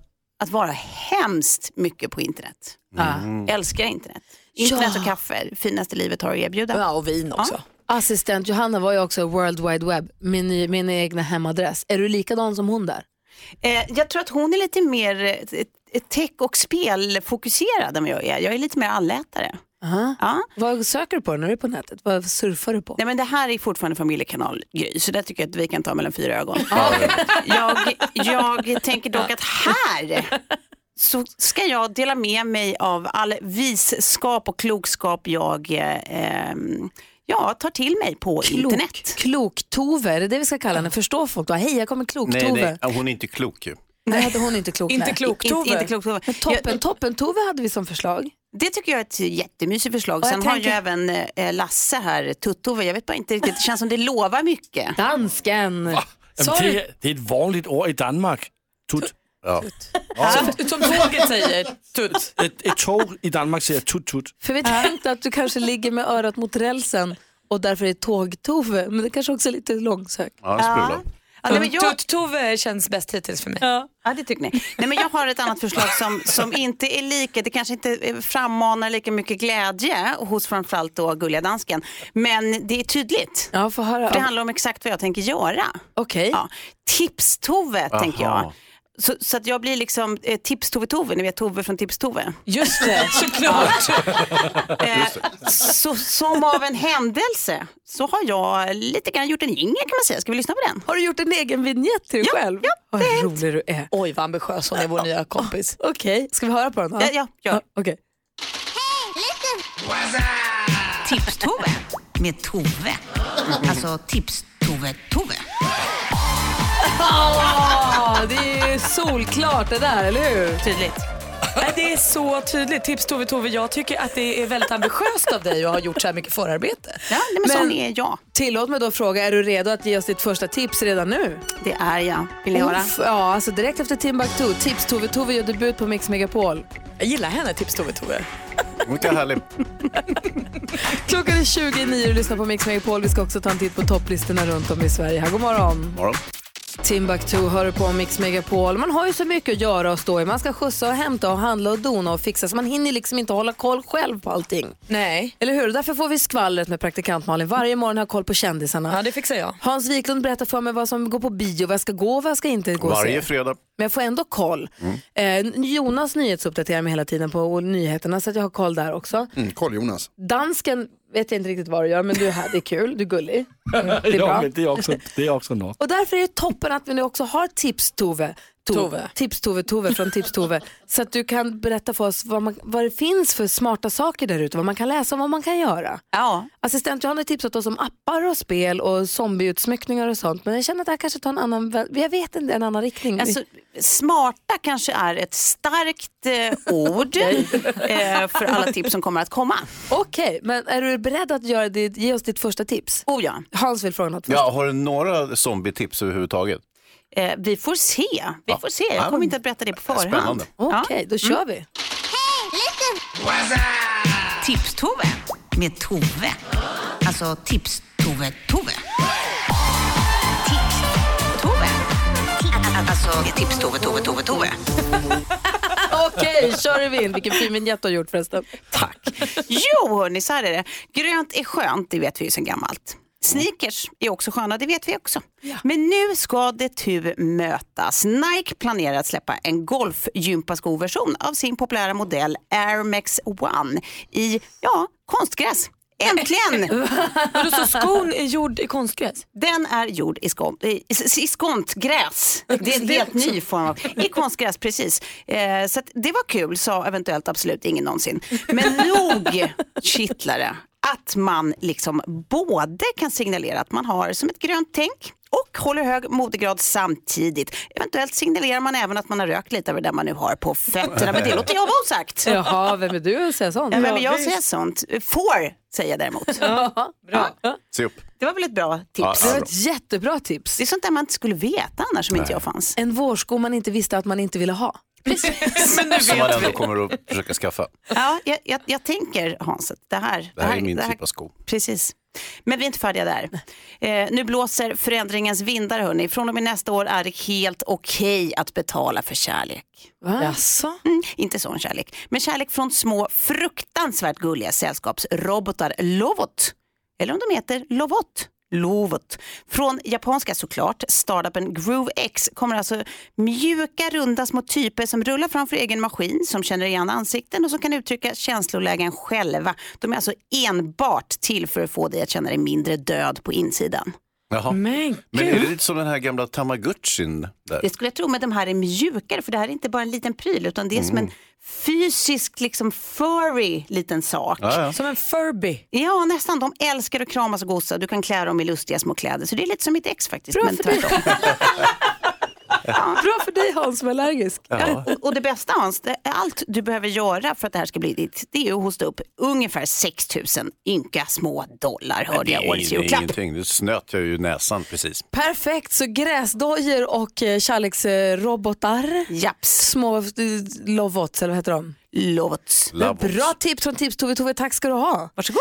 att vara hemskt mycket på internet.
Mm.
Älskar internet. Internet och kaffe, det finaste livet har att erbjuda. Ja,
och vin
också.
Assistent Johanna var ju också World Wide Web, min, ny- min egna hemadress. Är du likadan som hon där?
Eh, jag tror att hon är lite mer eh, eh, tech och spelfokuserad än vad jag är. Jag är lite mer allätare. Ja.
Vad söker du på när du är på nätet? Ah, Vad surfar du på?
Nej, men det här är fortfarande familjekanal Gry, så det tycker jag att vi kan ta mellan fyra ögon. jag, jag tänker dock att här så ska jag dela med mig av all visskap och klokskap jag eh, ehm, ja, tar till mig på internet.
Klok-Tove, är det det vi ska kalla henne? Förstår folk då? Hej, jag kommer
Nej,
Klok-Tove.
nej, hon är inte klok ju.
Nej, hade hon inte klok.
Inte
nej.
klok-Tove.
Inte, inte klok Tove. Men toppen, toppen Tove hade vi som förslag.
Det tycker jag är ett jättemysigt förslag.
Och jag
Sen har ju
tänker-
även eh, Lasse här, Tuttove, jag vet bara inte riktigt, det känns som det lovar mycket.
Dansken!
Jamen, det, er- det er et vanligt ord i Danmark. Tut. Ja.
Som, som tåget säger, tut.
Et, et tog i Danmark siger tut tut.
För vi tänkte att du kanske ligger med örat mot rälsen och därför är tåg-Tove, men det kanske också är lite långsökt.
Ja, en sprudla.
Tutt-Tove känns bäst hittills för mig.
Ja. det tycker ni. Nej, men jag har ett annat förslag som, som inte är lika, det kanske inte eh, frammanar lika mycket glädje hos framförallt då gulliga dansken. Men det är tydligt.
Ja, för höra.
det handlar om exakt vad jag tänker göra.
Okej.
Ja. Tips-Tove
Aha.
tänker jag. Så, så att jag blir liksom eh, Tips-Tove-Tove, ni vet Tove från Tips-Tove.
Just det, såklart.
Så, som av en händelse så har jag lite grann gjort en jingel kan man säga. Ska vi lyssna på den?
Har du gjort en egen vignett till dig
ja,
själv?
Ja,
Vad rolig du är.
Oj, vad ambitiös hon är, vår nya kompis.
Okej, ska vi höra på den?
Ja, ja, gör.
Okej.
Tips-Tove med Tove. Alltså Tips-Tove-Tove.
Ah, det är ju solklart det där, eller hur?
Tydligt.
Nej, det är så tydligt. Tips Tove Tove, jag tycker att det är väldigt ambitiöst av dig att ha gjort så här mycket förarbete.
Ja, nej, men, sån är jag.
Tillåt mig då fråga, är du redo att ge oss ditt första tips redan nu?
Det är jag. Vill ni höra?
Uff, Ja, alltså direkt efter Timbuktu. Tips Tove. Tove gör debut på Mix Megapol.
Jag gillar henne, Tips Tove Tove.
Mycket härligt.
Klockan är 29 och lyssnar på Mix Megapol. Vi ska också ta en titt på topplistorna runt om i Sverige. Här, god morgon.
Morgon.
Timbuktu hör du på Mix Megapol. Man har ju så mycket att göra och stå i. Man ska skjutsa och hämta och handla och dona och fixa så man hinner liksom inte hålla koll själv på allting.
Nej.
Eller hur? Därför får vi skvallret med praktikant Malin. Varje morgon har jag koll på kändisarna.
Ja, det fixar jag.
Hans Wiklund berättar för mig vad som går på bio, vad jag ska gå och vad jag ska inte gå och se.
Varje fredag.
Men jag får ändå koll.
Mm.
Eh, Jonas nyhetsuppdaterar mig hela tiden på nyheterna så att jag har koll där också.
Mm, koll Jonas.
Dansken vet jag inte riktigt vad du gör men du är här, det är kul, du är gullig. Mm, Det är
jo,
bra.
men det er også, det er også nok.
Och därför är det toppen att vi nu också har Tips-Tove. To-
Tove.
Tips-Tove, Tove från Tips-Tove. så att du kan berätta för oss vad, man, vad det finns för smarta saker där ute, vad man kan läsa och vad man kan göra.
Ja.
Assistent Johanna har tipsat oss om appar och spel och zombieutsmyckningar och sånt men jag känner att det här kanske tar en annan, vä- jag vet inte, en annan riktning.
Alltså, smarta kanske är ett starkt eh, ord eh, för alla tips som kommer att komma.
Okej, men är du beredd att göra det, ge oss ditt första tips?
Oh ja.
Hans vill fråga något först.
Ja, har du några zombietips överhuvudtaget?
Eh, vi får se. Vi får se. Jag kommer inte att berätta det på förhand. Mm.
Spännande.
Okej, då kör vi.
Tips-Tove med Tove. Alltså Tips-Tove-Tove. Tips-Tove. Alltså Tips-Tove-Tove-Tove-Tove.
Okej, kör vi in. Vilken fin vignett du har gjort förresten.
Jo, hörni, så här är det. Grönt är skönt, det vet vi ju sedan gammalt. Sneakers är också sköna, det vet vi också. Men nu ska det tu mötas. Nike planerar att släppa en golfgympaskoversion av sin populära modell Air Max One i ja, konstgräs. Äntligen!
Vadå, så skon är gjord i konstgräs?
Den är gjord i, skon, i, i, i skontgräs. Det är en
Det
helt ny form av... I konstgräs, precis. Eh, så att det var kul, sa eventuellt absolut ingen någonsin. Men nog kittlar det att man liksom både kan signalera att man har som ett grönt tänk och håller hög modegrad samtidigt. Eventuellt signalerar man även att man har rökt lite över det man nu har på fötterna. Men det låter jag vara osagt.
Jaha, vem är du att säga sånt?
Ja, men jag säger sånt. Får säger jag däremot.
bra.
Se upp.
Det var väl ett bra tips?
Det var ett jättebra tips.
Det är sånt där man inte skulle veta annars som inte jag fanns.
En vårsko man inte visste att man inte ville ha.
Men nu
Som man
vet
ändå
vi.
kommer att försöka skaffa.
Ja, jag, jag, jag tänker Hans, att det här,
Det här är min typ av sko.
Precis. Men vi är inte färdiga där. Eh, nu blåser förändringens vindar hörni. Från och med nästa år är det helt okej att betala för kärlek.
Jaså?
Mm, inte sån kärlek, men kärlek från små fruktansvärt gulliga sällskapsrobotar Lovot. Eller om de heter Lovot. Lovot. Från japanska såklart, startupen GrooveX kommer alltså mjuka, runda små typer som rullar framför egen maskin, som känner igen ansikten och som kan uttrycka känslolägen själva. De är alltså enbart till för att få dig att känna dig mindre död på insidan.
Jaha. Men, är det lite som den här gamla tamagotchin? Där?
Det skulle jag tro, men de här är mjukare för det här är inte bara en liten pryl utan det är som
Mm.
en fysisk, liksom furry liten sak.
Ja, ja.
Som en Furby.
Ja, nästan. De älskar att kramas och gossa. Du kan klä dem i lustiga små kläder. Så det är lite som mitt ex faktiskt.
Bra
men
för dig.
tvärtom.
Bra för dig Hans som är allergisk.
Ja. Och, och det bästa Hans, det är allt du behöver göra för att det här ska bli ditt, det är ju att hosta upp ungefär 6 000 ynka små dollar, hörde jag
Nej,
årets
det är
julklapp.
ingenting. Nu snöt jag ju näsan precis.
Perfekt, så gräsdojor och eh, kärleksrobotar.
Japs.
Små eh, lovots, eller vad heter de?
Lovots.
Lovots.
Bra tips från Tips-Tove. Tove, tack ska du ha.
Varsågod.